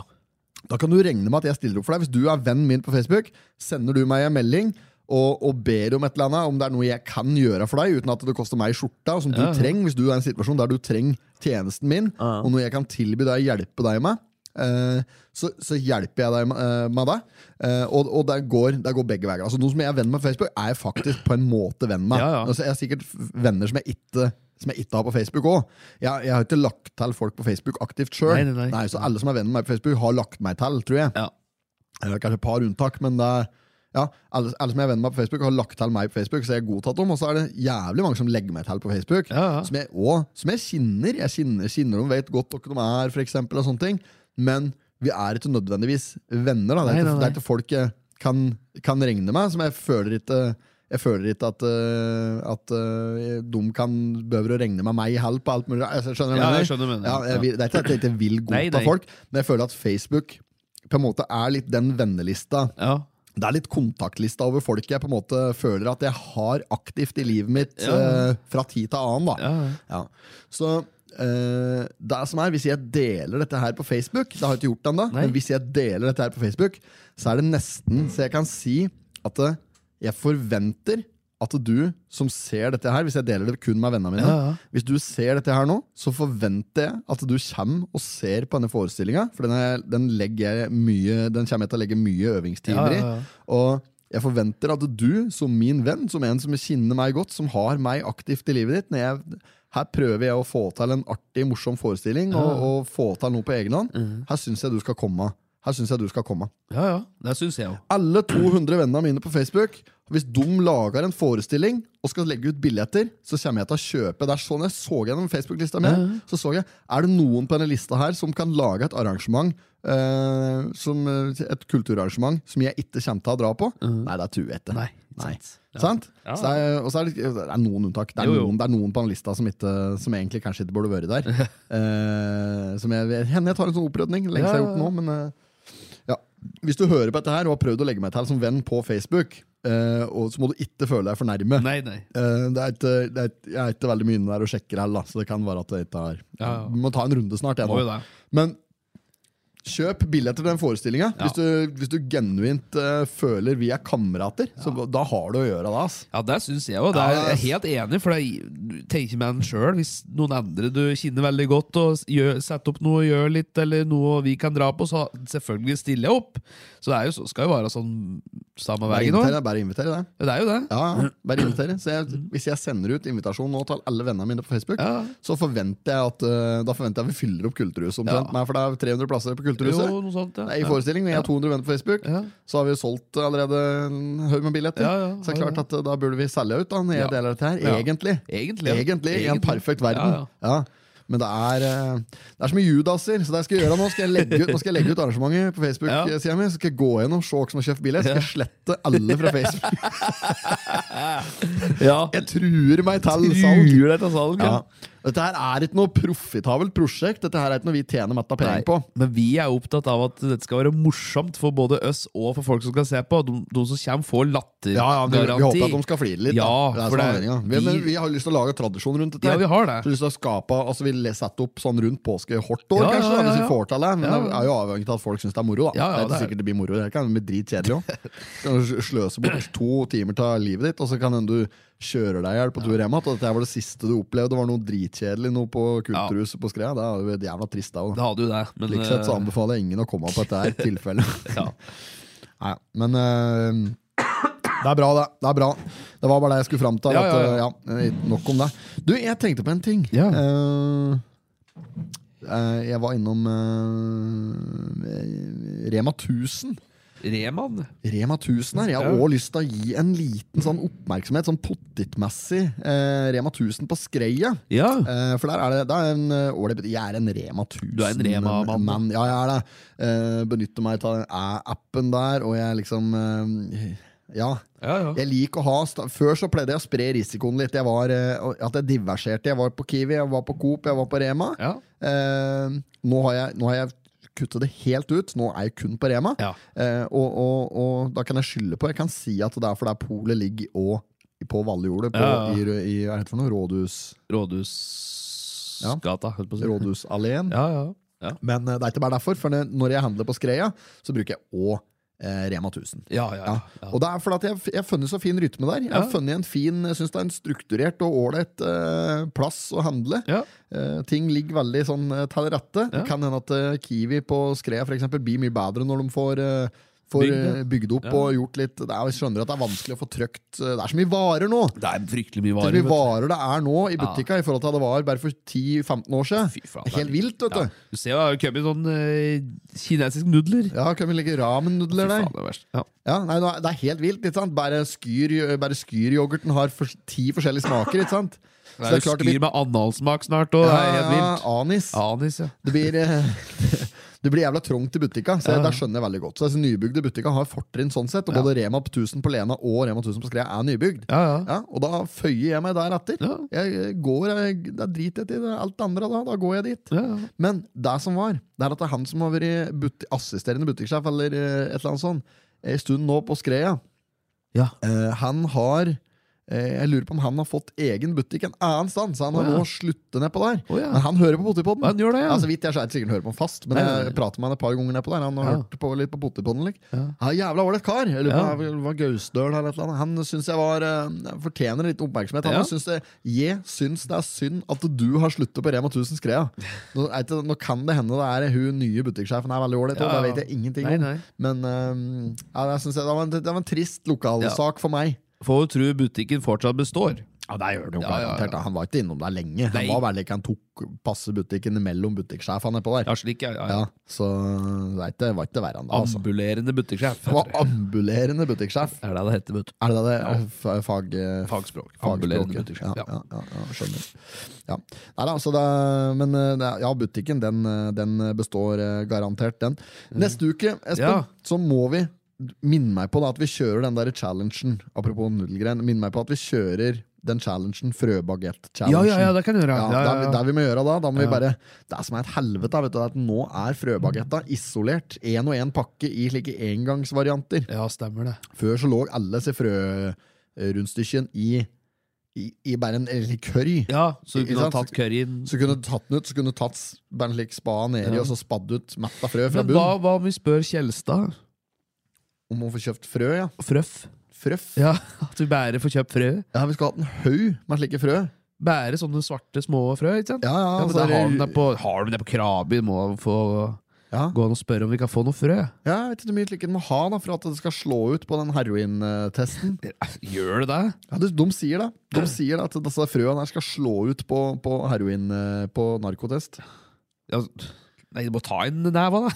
S2: Da kan du regne med at jeg stiller opp for deg. Hvis du er vennen min på Facebook, sender du meg en melding og, og ber om et eller annet, om det er noe jeg kan gjøre for deg, uten at det koster meg skjorta, og som
S1: Ja, ja.
S2: du trenger, hvis du er i en situasjon der du trenger tjenesten min,
S1: Ja.
S2: og noe jeg kan tilby deg, hjelpe deg med. eh, så, så hjelper jeg deg med, eh, med det. Eh, og og det, går, det går begge veier. Altså, noen som jeg er venn med på Facebook, er jeg faktisk på en måte venn med.
S1: Ja, ja.
S2: Altså, jeg har sikkert f- venner som jeg ikke som jeg ikke har på Facebook òg. Jeg, jeg har ikke lagt til folk på Facebook aktivt sjøl.
S1: Nei, nei, nei.
S2: Så alle som er venn med meg på Facebook, har lagt meg til, tror jeg.
S1: Ja.
S2: Eller kanskje et par unntak, men det er ja, alle, alle som jeg er venn med på Facebook, har lagt til meg på Facebook, så jeg er godtatt om. Og så er det jævlig mange som legger meg til på Facebook,
S1: Ja, ja.
S2: som jeg òg som jeg kjenner. Jeg kjenner, kjenner dem, vet godt hvem de er, for eksempel, og sånne ting. Men vi er ikke nødvendigvis venner. Da. Det, er
S1: Nei,
S2: ikke,
S1: nei,
S2: det
S1: nei.
S2: er ikke folk jeg kan, kan regne med, som jeg føler ikke jeg føler ikke at, øh, at øh, de kan behøver å regne med meg i hell på alt mulig. Jeg skjønner hva
S1: Ja,
S2: mener.
S1: jeg skjønner hva du mener.
S2: Ja, jeg vil- Det er ikke at jeg ikke vil
S1: Nei,
S2: godta
S1: nei.
S2: folk, men jeg føler at Facebook på en måte er litt den vennelista.
S1: Ja.
S2: Det er litt kontaktlista over folk jeg på en måte føler at jeg har aktivt i livet mitt eh, fra tid til annen. da.
S1: Ja.
S2: Ja. Så eh, det som er, hvis jeg deler dette her på Facebook, det har jeg ikke gjort ennå, men hvis jeg deler dette her på Facebook, så er det nesten så jeg kan si at eh, jeg forventer at du som ser dette her, hvis jeg deler det kun med vennene mine,
S1: Ja, ja.
S2: hvis du ser dette her nå, så forventer jeg at du kommer og ser på denne forestillinga, for den, er, den, legger jeg mye, den kommer jeg til å legge mye øvingstimer
S1: Ja, ja, ja.
S2: i. Og jeg forventer at du, som min venn, som en som kjenner meg godt, som har meg aktivt i livet ditt når jeg, Her prøver jeg å få til en artig, morsom forestilling og, og få til noe på egen hånd.
S1: Mhm.
S2: Her syns jeg du skal komme. Her synes jeg du skal komme.
S1: ja, ja. Det syns jeg òg.
S2: Alle 200 vennene mine på Facebook Hvis de lager en forestilling og skal legge ut billetter, så kommer jeg til å kjøpe. Det er sånn jeg så gjennom Facebook-lista mi. Så så jeg, Er det noen på denne lista her som kan lage et arrangement eh, som, eh, Et kulturarrangement som jeg ikke kommer til å dra på? Nei, det tror jeg ikke.
S1: Nei,
S2: Nei.
S1: sant.
S2: Sant?
S1: Ja.
S2: Så det er, og så er det, det er noen unntak. Det er,
S1: Jo, jo.
S2: Noen, det er noen på den lista som, ikke, som egentlig kanskje ikke burde vært der. Eh, som jeg, henne jeg tar en sånn opprydning. Lenge siden jeg har gjort det nå, men eh, ja. Hvis du hører på dette her og har prøvd å legge meg til som venn på Facebook, eh, og så må du ikke føle deg fornærme.
S1: Nei, nei.
S2: Eh, det er ikke, det er, ikke- jeg er ikke veldig mye inne der og sjekker heller, da, så det kan være at det ikke er
S1: Ja, ja.
S2: Vi må ta en runde snart. Jeg,
S1: Må jo
S2: nå.
S1: det.
S2: Men kjøp billetter til den forestillinga.
S1: Ja.
S2: Hvis, du- hvis du genuint eh, føler vi er kamerater, så da har du å gjøre da. ass.
S1: Ja, det syns jeg òg. Jeg er helt enig, for jeg du tenker med den sjøl. Hvis noen andre du kjenner veldig godt, og s- gjør, setter opp noe og gjør litt, eller noe vi kan dra på, så selvfølgelig stiller jeg opp. Så det er jo, så- skal jo være sånn samme
S2: Bare
S1: veien òg.
S2: invitere, bare invitere det.
S1: Det er jo det.
S2: Ja, ja, bare invitere. Så jeg, hvis jeg sender ut invitasjon nå til alle vennene mine på Facebook,
S1: Ja.
S2: så forventer jeg at eh, Da forventer jeg at vi fyller opp Kulturhuset omtrent.
S1: Ja.
S2: Nei, for det er 300 plasser på Kulturhuset.
S1: Jo, noe sånt, ja.
S2: Det er I forestilling, og jeg har 200 venner på Facebook.
S1: Ja.
S2: Så har vi solgt allerede en haug med billetter.
S1: Ja, ja,
S2: så det er
S1: har
S2: klart at eh, da burde vi selge ut da, når jeg
S1: Ja.
S2: deler dette her.
S1: Ja.
S2: Egentlig.
S1: Egentlig, ja.
S2: I en
S1: Egentlig.
S2: perfekt verden.
S1: Ja,
S2: Ja, Men det er, eh, det er så mye judaser, så det jeg skal gjøre nå skal jeg legge ut, nå skal jeg legge ut arrangementet på
S1: Ja.
S2: Facebook-sida mi. Så skal jeg gå gjennom, se hvem som har kjøpt billett, så skal jeg slette alle fra Facebook.
S1: Ja.
S2: Jeg truer meg til salg.
S1: Truer deg til salg,
S2: Ja.
S1: ja.
S2: Dette her er ikke noe profitabelt prosjekt. Dette her er ikke noe vi tjener matta penger på.
S1: Men vi er opptatt av at dette skal være morsomt for både oss og for folk som skal se på. De, de som kommer, får lattergaranti.
S2: Ja, ja, vi, vi håper at de skal flire litt. da.
S1: Ja,
S2: det er
S1: for
S2: sånn
S1: det er-
S2: anledningen. vi, men
S1: vi-
S2: vi har lyst til å lage tradisjon rundt dette.
S1: Ja,
S2: her.
S1: vi har det.
S2: Så lyst til å skape, altså Vi le- setter opp sånn rundt påske hvert
S1: Ja,
S2: år,
S1: ja,
S2: kanskje, da,
S1: ja,
S2: hvis
S1: ja.
S2: vi får til det.
S1: Ja,
S2: Men det
S1: ja.
S2: er jo avhengig av at folk syns det er moro. da
S1: Ja, ja,
S2: Det er ikke
S1: det er-
S2: sikkert det blir moro. Det kan bli dritkjedelig òg. kan du sløse bort to timer av livet ditt, og så kan hende du kjører deg i hjel på tur hjem igjen. Og dette her var det siste du opplevde, var noe dritkjedelig noe på kulturhuset på Skrea. Det er jo jævla trist, det òg.
S1: Det hadde jo det, men
S2: Slik sett så
S1: eh,
S2: anbefaler jeg ingen å komme på dette her tilfellet.
S1: ja.
S2: Nei, men eh, det er bra, det. Det er bra. Det var bare det jeg skulle fram til.
S1: Ja,
S2: at, eh,
S1: ja,
S2: ja, eh, nok om det. Du, jeg tenkte på en ting.
S1: Ja.
S2: Eh, eh, jeg var innom eh, Rema 1000.
S1: eh, Reman.
S2: Rema 1000 her. Jeg har
S1: Ja.
S2: også lyst til å gi en liten sånn oppmerksomhet, sånn pottitmessig, eh, Rema 1000 på Skreia.
S1: Ja.
S2: Eh, for der er det, det er en eh, årlig bet- Jeg er en Rema 1000.
S1: Du er en Rema-mann.
S2: mann. Ja, jeg er det. Eh, benytter meg av eh, appen der, og jeg liksom eh, Ja.
S1: Ja, ja.
S2: Jeg liker å ha sta- Før så pleide jeg å spre risikoen litt. Jeg var, eh, og- at jeg diverserte. Jeg var på Kiwi, jeg var på Coop, jeg var på Rema.
S1: Ja.
S2: Eh, nå, har jeg, nå har jeg kuttet det helt ut. Nå er jeg kun på Rema.
S1: Ja.
S2: Eh, og, og, og da kan jeg skylde på Jeg kan si at det er fordi polet ligger og på Valjordet, på,
S1: Ja, ja.
S2: i, i hva heter det for noe? Rådhus,
S1: Rådhusgata, holdt på å si.
S2: Rådhusalleen.
S1: Ja, ja. Ja,
S2: Men eh, det er ikke bare derfor, for når- når jeg handler på Skreia, så bruker jeg òg eh, Rema 1000.
S1: ja, ja, ja.
S2: Ja. Og det er fordi at jeg, jeg har funnet så fin rytme der. Jeg har
S1: Ja.
S2: funnet en fin, jeg synes det er en strukturert og ålreit eh, plass å handle.
S1: Ja.
S2: Eh, ting ligger veldig sånn eh, til rette. Det
S1: Ja.
S2: kan hende at eh, Kiwi på Skreia for eksempel, blir mye bedre når de får eh, får,
S1: Bygd, ja.
S2: eh, bygd opp
S1: Ja.
S2: og gjort litt det er, Jeg skjønner at det er vanskelig å få trøkt eh, Det er så mye varer nå!
S1: Det er fryktelig mye
S2: Så
S1: varer.
S2: mye
S1: vet
S2: varer det er nå i butikka i forhold til det var bare for 10-15 år
S1: du. Fy
S2: siden.
S1: faen, det
S2: Det er
S1: er-
S2: helt vilt, vet
S1: Ja.
S2: du.
S1: Du ser jo det har jo kommet sånn eh, kinesiske nudler.
S2: Ja, kan vi legge
S1: Fy
S2: ramen-nudler der?
S1: faen, det er verst. Ja.
S2: Ja, nei, nå er- Det er helt vilt. ikke sant? Bare, skyr, bare skyryoghurten har for, ti forskjellige smaker. ikke sant? Så
S1: Det er jo
S2: klart
S1: skyr
S2: blir-
S1: med analsmak snart, og det er helt
S2: Ja,
S1: vilt.
S2: ja, Anis.
S1: Anis, ja.
S2: Det blir eh, Det blir jævla trangt i butikka, så det skjønner jeg veldig godt. Så altså, Nybygde butikker har fortrinn sånn sett, og både Rema 1000 på Lena og Rema 1000 på Skrea er nybygd.
S1: Ja, ja.
S2: Ja, og da føyer jeg meg deretter. Jeg eh, går, jeg, Da driter jeg til alt det andre, da. Da går jeg dit.
S1: Ja, ja.
S2: Men det som var, det er at det er han som har vært buti assisterende butikksjef eller eh, et eller annet sånt, en stund nå på Skreia,
S1: Ja.
S2: eh, han har eh, jeg lurer på om han har fått egen butikk en annen sted, så han
S1: Å,
S2: har
S1: ja.
S2: nå sluttet nedpå der.
S1: Å, ja.
S2: Men han hører på Potipodden.
S1: Han gjør det, ja.
S2: Altså, vidt jeg skjærer sikkert han hører på han fast, men
S1: Ja, ja, ja.
S2: jeg prater med han et par ganger nedpå der. Han har
S1: Ja.
S2: hørt på litt på Potipodden. Like. Ja, jævla ålreit kar. Jeg lurer på om det var Gausdøl eller et eller annet. Han syns jeg var eh, fortjener litt oppmerksomhet. Han
S1: Ja.
S2: synes det, jeg syns det er synd at du har sluttet på Rema 1000 Skrea. Nå, er ikke- nå kan det hende det er hun nye butikksjefen er veldig ålreit, og
S1: Ja, ja.
S2: det vet jeg ingenting
S1: Nei,
S2: om.
S1: nei.
S2: Men eh, ja, det, synes jeg, det, var en, det var en trist lokalsak for meg.
S1: Får jo tro butikken fortsatt består.
S2: Ja, det gjør det jo
S1: Ja, ja,
S2: garantert. da. Han var ikke innom der lenge.
S1: Nei.
S2: Han var veldig ikke, han tok passe butikken mellom butikksjefene på der.
S1: Ja, slik, ja. ja, ja.
S2: Ja, så det var ikke- det var ikke verre enn det. Altså.
S1: Ambulerende butikksjef.
S2: Han var
S1: heter det.
S2: ambulerende butikksjef.
S1: Det er det det heter, vet du.
S2: Er det det? F- Fag... eh,
S1: Fagspråk.
S2: Fagspråket.
S1: Ambulerende butikksjef.
S2: Ja,
S1: Ja.
S2: ja, ja, ja, skjønner. Ja. Nei, da, så det, er- men eh, det, er- ja, butikken den, eh, den består eh, garantert, den. Neste uke, Espen,
S1: Mm. Ja.
S2: så må vi minne meg på da, at vi kjører den der challengen. Apropos nudelgrein. Minne meg på at vi kjører den challengen, frøbagett-challengen.
S1: Ja, ja, ja, det kan jeg gjøre.
S2: Ja,
S1: Ja, ja,
S2: Det,
S1: ja.
S2: er, det er vi må gjøre da, da må vi bare Det er som er et helvete, vet du, er at nå er frøbagetta isolert. Én og én pakke i slike engangsvarianter.
S1: ja, stemmer det.
S2: Før så lå alle disse frørundstykken i, i, i bare en en slik curry.
S1: Ja, så du
S2: Ikke
S1: kunne ha
S2: sant?
S1: tatt curryen.
S2: Så kunne du tatt den ut, så kunne du tatt s- bare en slik spa nedi
S1: Ja.
S2: og så spadd ut metta frø fra
S1: Men hva,
S2: bunnen.
S1: hva om vi spør Kjelstad?
S2: Om å få kjøpt frø, ja.
S1: Frøff?
S2: Frøff. Ja.
S1: Ja, At vi bare får kjøpt frø?
S2: Vi skal ha en haug med slike frø.
S1: Bare sånne svarte, små frø? ikke sant?
S2: Ja, ja,
S1: Ja, men
S2: så
S1: da
S2: er det-
S1: har de det på, har de det på Krabi, må de få
S2: ja.
S1: gå an og spørre om vi kan få noe frø.
S2: ja, jeg vet ikke hvor mye slike den må ha da, for at det skal slå ut på den herointesten.
S1: Gjør det det?
S2: Ja, de, de sier det. De sier det at disse frøene her skal slå ut på, på heroin eh, på narkotest.
S1: Ja, nei, du må ta en neva, da.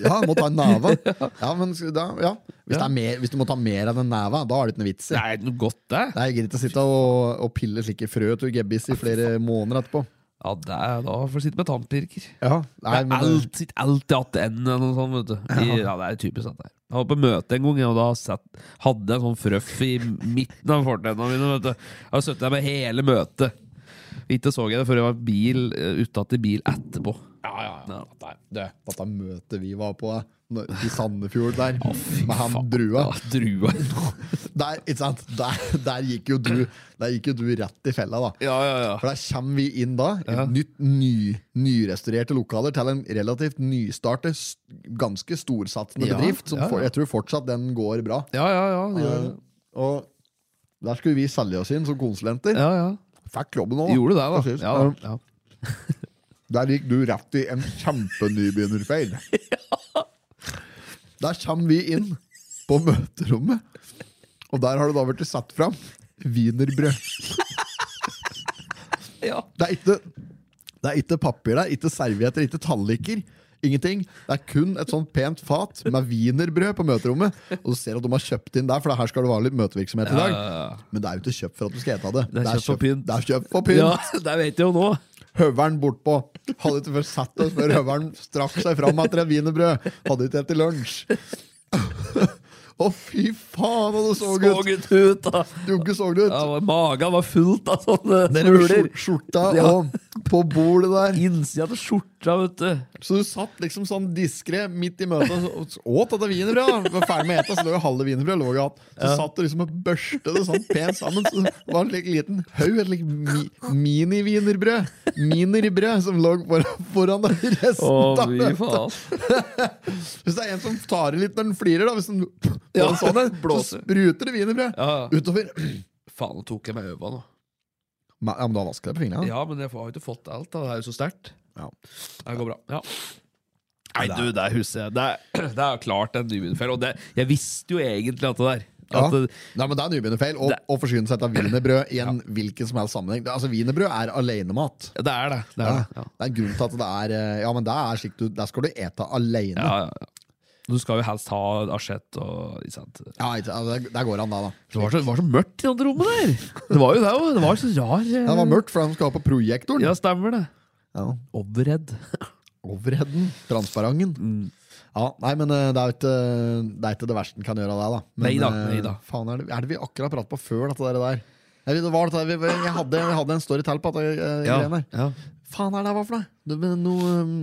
S2: Ja, må ta en neve. Ja, men sk- da, ja. Hvis,
S1: Ja.
S2: det er mer, hvis du må ta mer enn en neve, da er det ikke noe vits i.
S1: Det er noe godt, det.
S2: Det er greit å sitte og, og pille slike frø til gebbis i flere måneder etterpå.
S1: Ja, det er da får du sitte med tannpirker.
S2: Ja,
S1: Det
S2: nei,
S1: er
S2: men, eh,
S1: alt, sitt alltid hatt en eller noe sånt, vet du. I, ja, det er typisk sånn der. Jeg var på møte en gang, og da satt, hadde jeg en sånn frøff i midten av fortennene mine, vet du. Jeg har sittet der med hele møtet. Ikke så jeg det før jeg var bil, eh, utsatt i bil etterpå. Ja, ja, ja.
S2: Dette møtet vi var på eh, nå- i Sandefjord der, med han drua
S1: drua.
S2: der, ikke sant? Der, der, gikk jo du, der gikk jo du rett i fella, da.
S1: Ja, ja, ja.
S2: For der kommer vi inn da, i et nytt, ny, nyrestaurerte lokaler til en relativt nystartet, s- ganske storsatsende
S1: Ja,
S2: bedrift. Som
S1: ja, ja.
S2: For, jeg tror fortsatt den går bra.
S1: Ja, ja, ja. det gjør det.
S2: og der skulle vi selge oss inn som konsulenter.
S1: Ja, ja.
S2: Fikk jobben òg.
S1: Gjorde det,
S2: Precis.
S1: da. Ja, ja.
S2: Um, Der gikk du rett i en kjempenybegynnerfeil. Der kommer vi inn på møterommet, og der har det da blitt satt fram wienerbrød.
S1: Ja.
S2: Det er ikke, det er ikke papir der, ikke servietter, ikke talliker. Ingenting. Det er kun et sånt pent fat med wienerbrød på møterommet. Og du ser at de har kjøpt inn der, for her skal det være litt møtevirksomhet i dag. Men det er jo ikke kjøpt for at du skal ete av det.
S1: Det er kjøpt for pynt.
S2: Det er kjøpt for pynt.
S1: ja, det vet jeg jo nå.
S2: Høveren bortpå. Hadde ikke først sett oss før høveren strakk seg fram etter et wienerbrød. Hadde ikke etter lunsj. Å, fy faen, hva du så
S1: Så
S2: ut!
S1: gutt ut, da.
S2: Du ikke så det ut.
S1: Ja, Magen var fullt av sånne
S2: Dere med
S1: smuler.
S2: skjor- skjorta
S1: Ja.
S2: og på bordet der.
S1: Innsida av skjorta, vet du.
S2: Så du satt liksom sånn diskré midt i møtet og så- og åt dette wienerbrødet. da. Var ferdig med å ete, så lå jo halve wienerbrødet lå jo igjen. Så satt du liksom og børste det sånn pent sammen. Så det var en like liten haug, et like mi, mini-wienerbrød. Minerbrød som lå foran, foran deg i resten
S1: Å,
S2: av
S1: fy
S2: møtet.
S1: faen.
S2: Hvis det er en som tar i litt når den flirer, da, hvis den,
S1: Ja,
S2: på en sånn en, så
S1: blåser.
S2: spruter det wienerbrød
S1: Ja, ja.
S2: utover.
S1: Faen, nå tok jeg meg øva nå.
S2: Ma- Ja, men du har vasket deg på fingrene? da.
S1: Ja, men jeg har jo ikke fått alt. da. Det er jo så sterkt.
S2: Ja.
S1: Det går bra. Ja. Nei, du, det er huset. Det er, det er klart en nybegynnerfeil. Og det, jeg visste jo egentlig at det der at,
S2: Ja.
S1: det-
S2: Nei, men Det er nybegynnerfeil å, å forsyne seg av wienerbrød i en hvilken som helst sammenheng. Det- Altså, Wienerbrød er alenemat.
S1: det er det. Det er det. Ja.
S2: Det er en grunn til at det er eh, Ja, men det er slik du, der skal du ete alene.
S1: Ja, ja, ja. Du skal jo helst ha asjett og ikke sant? Det
S2: Ja, ikke- altså, der- der går han, da. da
S1: var, så, det var så mørkt i det andre rommet der! Det var jo det òg. Det var så rar eh,
S2: Det var mørkt, for han skal ha på projektoren.
S1: Ja, stemmer det.
S2: Ja.
S1: Overhead.
S2: Overheden. Transparenten.
S1: Mm.
S2: Ja, nei, men eh, det er jo ikke det, er ikke det verste en kan gjøre av deg, da. Men,
S1: Neida,
S2: eh,
S1: neida.
S2: Faen, er det, er det vi akkurat pratet på før dette der? der? Jeg, vet, det var dette, vi- jeg, hadde, jeg hadde en story til på dette eh, greiene her.
S1: ja.
S2: Faen er det hva for noe? Det, men, noe um,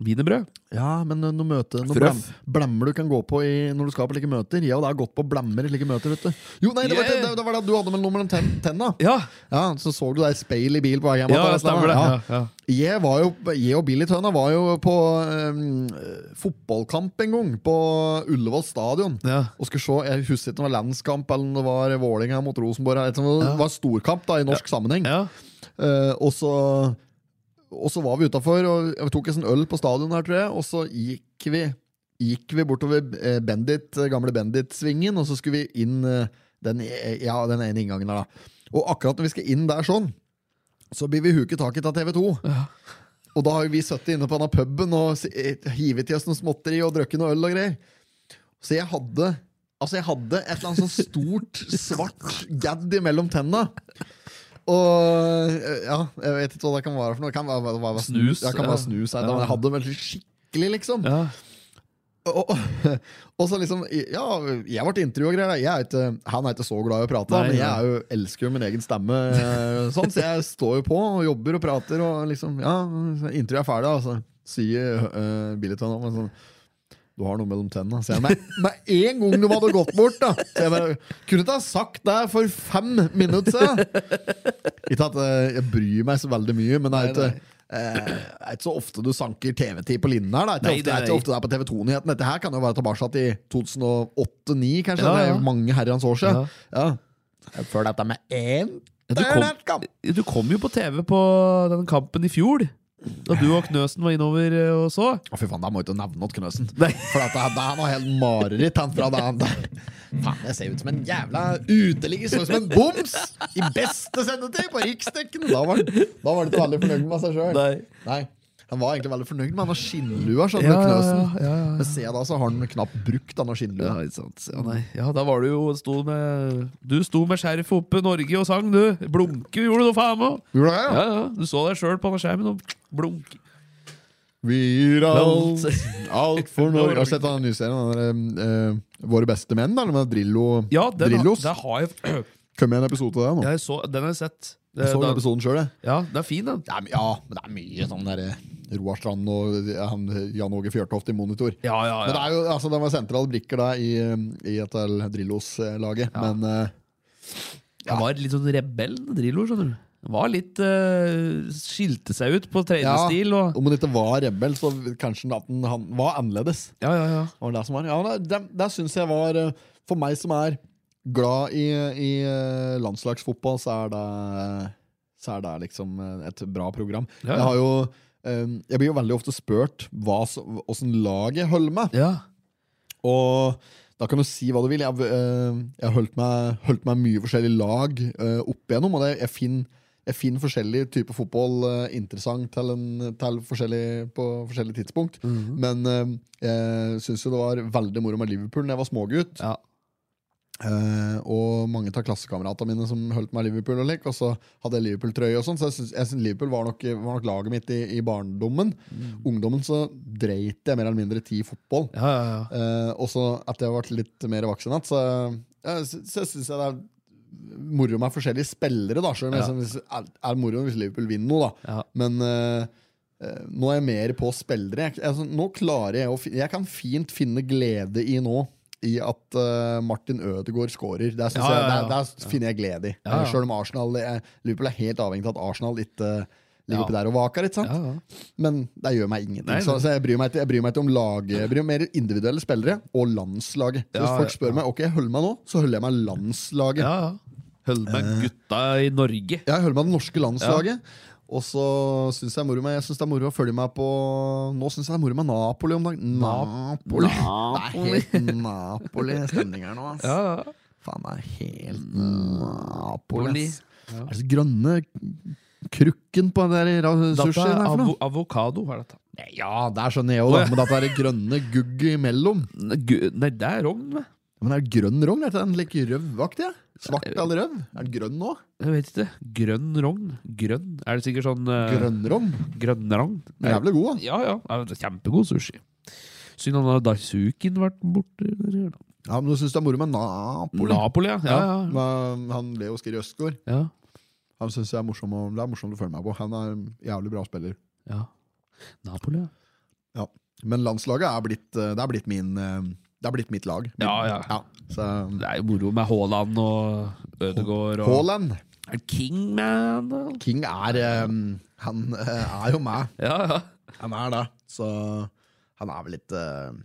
S1: Wienerbrød?
S2: ja, men noe møte Noe blam,
S1: Frøff.
S2: blemmer du kan gå på i, når du skal på like møter. Jeg og deg har gått på blemmer i like møter, vet du. Jo, nei, det var
S1: Yeah.
S2: det, det, var det du hadde med nummer ten, tenna.
S1: Ja,
S2: Ja, så så du der speil i bil på vei hjem.
S1: ja
S2: at
S1: det stemmer det.
S2: Ja.
S1: Ja, ja.
S2: Jeg, var jo, jeg og Billy Tønna var jo på eh, fotballkamp en gang, på Ullevål stadion.
S1: Ja.
S2: Og skulle se, Jeg husker ikke om det var landskamp eller om det var Vålinga mot Rosenborg. Eller, et sånt. det var storkamp da, i norsk sammenheng.
S1: Ja.
S2: Eh, og så Og så var vi utafor, og vi tok en sånn øl på stadion her, tror jeg, og så gikk vi Gikk vi bortover eh, Bendit, eh, gamle Bendit-svingen, og så skulle vi inn eh, den, eh, ja, den ene inngangen der, da. Og akkurat når vi skal inn der sånn, så blir vi huket tak i av TV 2. Og da har jo vi sittet inne på denne puben og s- eh, hivet i oss noe småtteri og drukket noe øl og greier. Så jeg hadde Altså jeg hadde et eller annet sånn stort, svart gadd mellom tenna. Og eh, ja, jeg vet ikke hva det kan være for noe. Det Kan være, være, være snus.
S1: Snus,
S2: Ja, kan
S1: ja.
S2: være snus her, da, men jeg hadde det veldig skikkelig, liksom.
S1: Ja.
S2: Og, og, og så liksom Ja, jeg ble intervjua og greier. Jeg er ikke, han er ikke så glad i å prate,
S1: Nei,
S2: men jeg
S1: nei.
S2: er jo, elsker jo min egen stemme. eh, Sånn, så jeg står jo på og jobber og prater, og liksom Ja, så intervjuet er ferdig, og så sier uh, Billiton om en sånn du har noe mellom tennene. Så jeg, med, med en gang du hadde gått bort, da! Så jeg bare, Kunne ikke ha sagt det for fem minutter siden! Ikke at eh, jeg bryr meg så veldig mye, men det er jo ikke eh, det er ikke så ofte du sanker TV-tid på linjen her. Da. Det er
S1: Nei,
S2: ikke ofte- det
S1: nei.
S2: er ikke ofte det er på TV2-nyheten. Dette her kan jo være tilbake i 2008-2009, kanskje.
S1: Ja,
S2: Det er
S1: ja.
S2: jo mange herrens år siden. Ja. Før dette med én
S1: Ja, du kom- Du kom jo på TV på den kampen i fjor. Da du og Knøsen var innover eh, og så.
S2: Å, fy faen, da må jeg ikke nevne noe Knøsen.
S1: Nei.
S2: For at han han har helt mareritt, han fra da han Faen, jeg ser ut som en jævla uteligger. Så ut som en boms! I beste sendetid på Riksdekken! Da var, da var han ikke veldig fornøyd med seg sjøl.
S1: Nei.
S2: Han var egentlig veldig fornøyd med han har skinnlua, skjønner du,
S1: Ja, ja,
S2: Knøsen.
S1: ja, ja, ja.
S2: Men ser jeg da, så har han knapt brukt denne skinnlua.
S1: Ja, ikke sant. Ja, nei. ja, da var du jo sto med, Du sto med skjerfet oppe, Norge, og sang, du. Blunke gjorde du noe faen med.
S2: Gjorde det,
S1: Ja, ja. Du så deg sjøl på den skjermen og blunk.
S2: Vi gir alt, alt for Norge.
S1: Norge.
S2: Har du sett den nye serien? Den der, eh, Våre beste menn, eller med Drillo?
S1: Ja, den, har-
S2: Drillos?
S1: der har jeg,
S2: Kom igjen, episode til deg nå.
S1: jeg så, Den har jeg sett. Det,
S2: Jeg så den
S1: da,
S2: episoden sjøl, jeg.
S1: ja, det er fin, den.
S2: Det er, ja, men det er mye sånn der eh, Roar Strand og eh, han, Jan Åge Fjørtoft i monitor.
S1: Ja, ja,
S2: Men det
S1: ja.
S2: er jo, altså, det var sentrale brikker da i, eh, i et av Drillos-laget. Men eh,
S1: Jeg var litt sånn rebell, Drillo, skjønner du. Han Var litt eh, Skilte seg ut på treningsstil og
S2: om han ikke var rebell, så kanskje at han, han var annerledes.
S1: Ja, ja, ja.
S2: Det var det som var. Ja, det, det, det syns jeg var eh, For meg som er glad i, i eh, landslagsfotball, så er det, så er det liksom eh, et bra program.
S1: Ja, ja.
S2: Jeg har jo eh, jeg blir jo veldig ofte spurt hva som- åssen laget holder med.
S1: ja.
S2: Og da kan du si hva du vil. Jeg, øh, jeg holdt, meg, holdt meg mye forskjellige lag øh, opp igjennom, og det, jeg finner jeg finner forskjellig type fotball øh, interessant til, en, til forskjellig, på forskjellige tidspunkt. Men øh, jeg syns jo det var veldig moro med Liverpool da jeg var smågutt.
S1: ja.
S2: Eh, og mange av klassekameratene mine som holdt meg i Liverpool og lik, og så hadde jeg Liverpool-trøye og sånn, så jeg syns, jeg syns Liverpool var nok, var nok laget mitt i, i barndommen. Ungdommen så dreit jeg mer eller mindre ti fotball.
S1: Ja, ja, ja.
S2: Eh, og så at jeg har vært litt mer voksen igjen, så, ja, så, så syns jeg det er moro med forskjellige spillere. da Selv om
S1: Ja.
S2: jeg synes det er, er moro hvis Liverpool vinner noe, da.
S1: Ja.
S2: Men eh, eh, nå er jeg mer på spillere. Jeg, altså, nå klarer jeg å fin- Jeg kan fint finne glede i nå. I at eh, Martin Ødegaard scorer. Der, synes
S1: Ja, ja,
S2: Jeg,
S1: ja.
S2: der, der finner jeg glede i.
S1: Ja, ja.
S2: Selv om Arsenal jeg, Liverpool er helt avhengig av at Arsenal ikke eh, ligger
S1: Ja.
S2: oppi der og vaker. Ikke sant?
S1: ja, ja.
S2: Men det gjør meg ingenting.
S1: Nei, nei.
S2: Så, så jeg, bryr meg ikke, jeg bryr meg ikke om laget. Jeg bryr meg mer om individuelle spillere og landslaget. Så
S1: Ja,
S2: Hvis folk
S1: ja,
S2: spør meg ok, jeg holder meg nå, så holder jeg meg landslaget.
S1: Ja, ja. Hold med gutta i Norge.
S2: Jeg holder meg det norske landslaget. Og så syns jeg, moro med- jeg synes det er moro å følge meg på Nå syns jeg det er moro med Napoli om dagen. Napoli! Det er helt Napoli-stemning her nå, ass.
S1: Ja, ja.
S2: Faen, det er helt Napoli. ass.
S1: Ja.
S2: Er det så grønne krukken på den der
S1: Dette
S2: sushien?
S1: er
S2: her for noe?
S1: avo avokado, hva er dette?
S2: Nei, Ja, der skjønner jeg jo da, men at det er grønne gugg imellom.
S1: Nei, gu- Nei, det er rogn, vet
S2: Men er det grønn rogn? Er det den like røvaktig? ja?
S1: Eh,
S2: Svart eller rød? Er den grønn nå?
S1: Jeg vet ikke. Grønn rogn? Grønn? Er det sikkert sånn uh,
S2: Grønnrom?
S1: grønnrogn?
S2: Den er Jævlig god, da.
S1: Ja, ja. ja det er Kjempegod sushi. Synd han har Daisuken vært borte. der.
S2: Ja, men du syns det er moro med Napoli?
S1: Napoli, ja. ja, ja.
S2: Med han Leo Skiri Østgaard.
S1: ja.
S2: Han synes jeg er morsom å, Det er morsomt å følge meg på. Han er en jævlig bra spiller.
S1: ja. Napoli, ja.
S2: Ja. Men landslaget er blitt, eh, det er blitt min eh, Det er blitt mitt lag. Min,
S1: Ja, ja.
S2: så, um,
S1: Det er jo moro med Haaland og Ødegaard og
S2: Haaland.
S1: Er det Kingman, da?
S2: King er eh, Han eh, er jo meg.
S1: Ja, ja.
S2: Han er det. Så han er vel litt eh,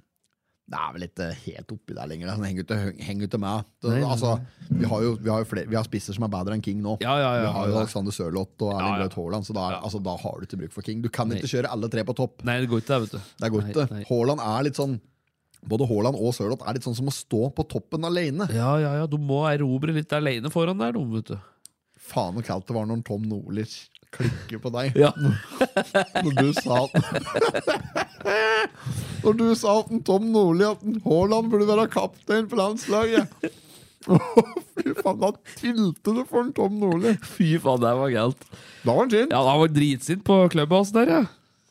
S2: Det er vel ikke helt oppi der lenger. da. Han henger ikke, henger ikke med. Så,
S1: Nei, nei,
S2: altså, vi har jo, vi har jo flere, vi har spisser som er bedre enn King nå.
S1: Ja, ja, ja.
S2: vi har jo Alexander Sørloth og Erling
S1: Ja, ja.
S2: Braut Haaland, så da, er- altså, da har du ikke bruk for King. Du kan ikke kjøre alle tre på topp.
S1: Nei, det går ikke, det, vet du.
S2: Det er godt,
S1: Nei,
S2: det.
S1: nei.
S2: Haaland er litt sånn Både Haaland og Sørloth er litt sånn som å stå på toppen alene.
S1: Ja, ja, ja. Du må erobre litt alene foran der, du, vet du.
S2: Faen så kaldt det var når Tom Nordlich klikker på deg.
S1: Ja.
S2: Når du sa at Når du sa at en Tom Nordli at en Haaland burde være kaptein på landslaget. Å, Fy faen, da tilte du for en Tom Nordli.
S1: Fy faen, det var galt.
S2: Da var han sin.
S1: Ja, han var dritsint på klubbhuset der, ja.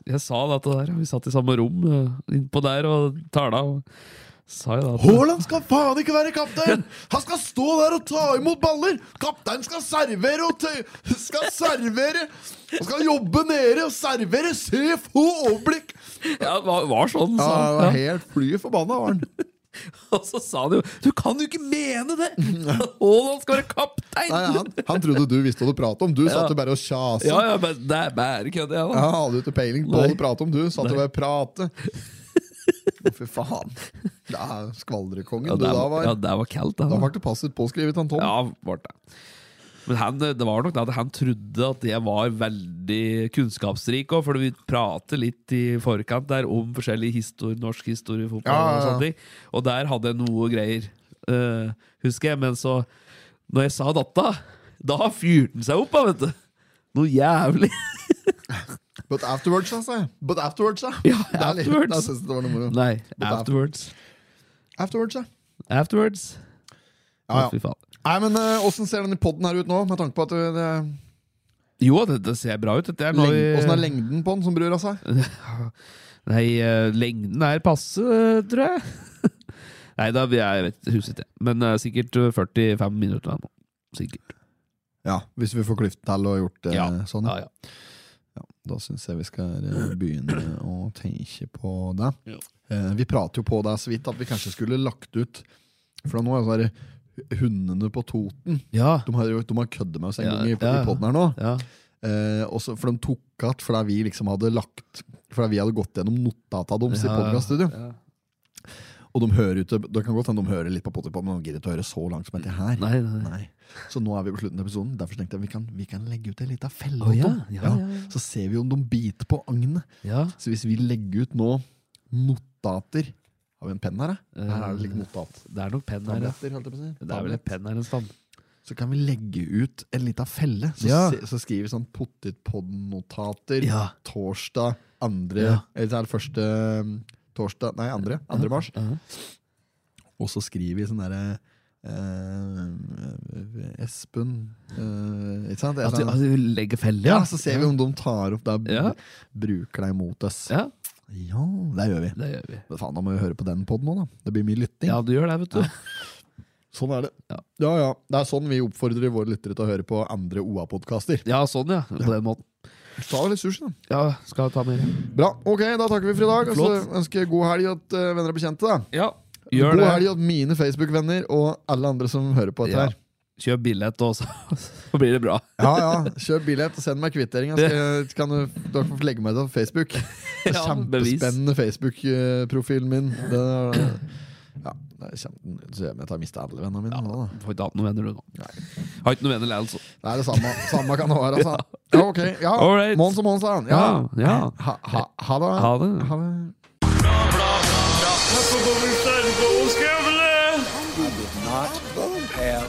S1: Jeg sa dette der, ja. vi satt i samme rom eh, innpå der og tala. Og sa jeg da at
S2: Haaland skal faen ikke være kaptein! Han skal stå der og ta imot baller! Kapteinen skal servere og tøy Skal servere! Han skal jobbe nede og servere! Se, få overblikk!
S1: Ja, det var, var sånn, sa
S2: Ja,
S1: han.
S2: han var
S1: Ja.
S2: helt fly forbanna, var han.
S1: Og så sa han jo Du kan jo ikke mene det! Haaland skal være kaptein!
S2: Nei, han, han trodde du visste hva du pratet om. Du satt jo bare og kjasa.
S1: Ja, ja, men det er bare kødd, jeg, da.
S2: Ja, hadde du ikke peiling på hva du pratet om, du? Satt og bare prate. Å, Fy faen. Det er skvaldrekongen
S1: Ja,
S2: du
S1: det
S2: da
S1: var,
S2: var.
S1: ja, det var kaldt, det.
S2: Da
S1: da.
S2: ble du passivt påskrevet, han Tom.
S1: Ja, var det. Men han, eh, det var nok det at han trodde at jeg var veldig kunnskapsrik òg, for vi prater litt i forkant der om forskjellig historie, norsk historie, fotball
S2: Ja, ja,
S1: og
S2: ja.
S1: sånne ting. Og der hadde jeg noe greier, eh, husker jeg. Men så, når jeg sa datta, da fyrte han seg opp, da, vet du. Noe jævlig.
S2: But afterwards, altså. But afterwards, ja.
S1: Ja,
S2: Det er litt-
S1: afterwards.
S2: Da synes jeg det var noe moro.
S1: Nei,
S2: But af-
S1: afterwards.
S2: Afterwards, ja.
S1: Afterwards.
S2: Ja,
S1: Å,
S2: ja.
S1: Fy faen.
S2: Nei, men eh, Åssen ser denne podden her ut nå, med tanke på at det, det,
S1: Jo, det, det ser bra ut. Dette er nå
S2: leng,
S1: vi-
S2: Åssen er lengden på den, som bryr av seg?
S1: Nei, eh, lengden er passe, eh, tror jeg. Nei da, vi er, jeg vet, huset det. Men eh, sikkert eh, 45 minutter nå. Sikkert.
S2: Ja, Hvis vi får klyft til og gjort det sånn.
S1: Ja, ja.
S2: Da syns jeg vi skal eh, begynne å tenke på det.
S1: Ja.
S2: Eh, vi prater jo på det så vidt at vi kanskje skulle lagt ut For nå er det sånn her, hundene på Toten
S1: Ja,
S2: De har, jo- de har køddet med oss en
S1: Ja,
S2: gang i,
S1: ja.
S2: i podden her nå.
S1: ja.
S2: Eh, også, for de tok igjen fordi vi liksom hadde lagt Fordi vi hadde gått gjennom notata deres i
S1: Ja,
S2: podkaststudio.
S1: ja.
S2: Og de hører ut, det kan godt hende de hører litt på Potipod, men de gidder ikke å høre så langt som etter her.
S1: Nei, nei, nei.
S2: Nei. Så nå er vi på slutten av episoden. Derfor tenkte jeg vi kan, vi kan legge ut en liten
S1: Å,
S2: felle.
S1: ja,
S2: Tom.
S1: ja, ja, ja.
S2: Så ser vi om de biter på agnet.
S1: Ja.
S2: Så hvis vi legger ut nå notater Har vi en penn her, da? Her er det litt notat.
S1: eh, Det er nok penn her, ja.
S2: Tabletter, holdt jeg på å
S1: Det
S2: si.
S1: er vel en
S2: Tablett.
S1: penn her en stand.
S2: Så kan vi legge ut en liten felle. Så,
S1: Ja.
S2: se, så skriver vi sånn pottitpod-notater
S1: Ja.
S2: torsdag andre
S1: Ja.
S2: Eller det er det første um, torsdag Nei, andre. Andre mars.
S1: ja.
S2: Og så skriver vi sånn derre eh, Espen eh, Ikke sant? Det er
S1: At vi,
S2: sånn-
S1: at vi legger felle,
S2: ja,
S1: ja.
S2: så ser vi om de tar opp der
S1: Ja.
S2: bruker deg mot oss.
S1: Ja,
S2: Ja, det gjør vi.
S1: det gjør vi.
S2: Men faen, da må vi høre på den podden nå, da. Det blir mye lytting.
S1: Ja, du gjør det, vet du.
S2: Sånn er det.
S1: Ja.
S2: Ja. ja, Det er sånn vi oppfordrer våre lyttere til å høre på andre OA-podkaster.
S1: Ja, sånn, ja. På den måten.
S2: Ta litt sushi, da.
S1: Ja, skal jeg ta mer?
S2: Bra. Ok, da takker vi for i dag. Og
S1: Flott.
S2: så ønsker jeg god helg til eh, venner og bekjente. da.
S1: Ja, gjør
S2: god
S1: det.
S2: helg til mine Facebook-venner og alle andre som hører på dette
S1: Ja.
S2: her.
S1: Kjøp billett, og så, så blir det bra.
S2: Ja, ja. Kjøp billett og send meg kvitteringa. Dere får legge meg til Facebook. Det er
S1: Ja, bevis.
S2: Kjempespennende Facebook-profilen min. Det er, ja, det er kjempe, så jeg tar miste alle vennene mine. nå, Da.
S1: Du får ikke hatt noen venner, du, nå. Har ikke noen venner, altså.
S2: Det er det samme, samme kan det være. Altså. Ja, ok. Ja.
S1: Alright.
S2: Måns og Måns, da. Ja.
S1: Ja, ja.
S2: Ha, ha, ha det.
S1: Ha det.
S2: Ha det.
S7: Not have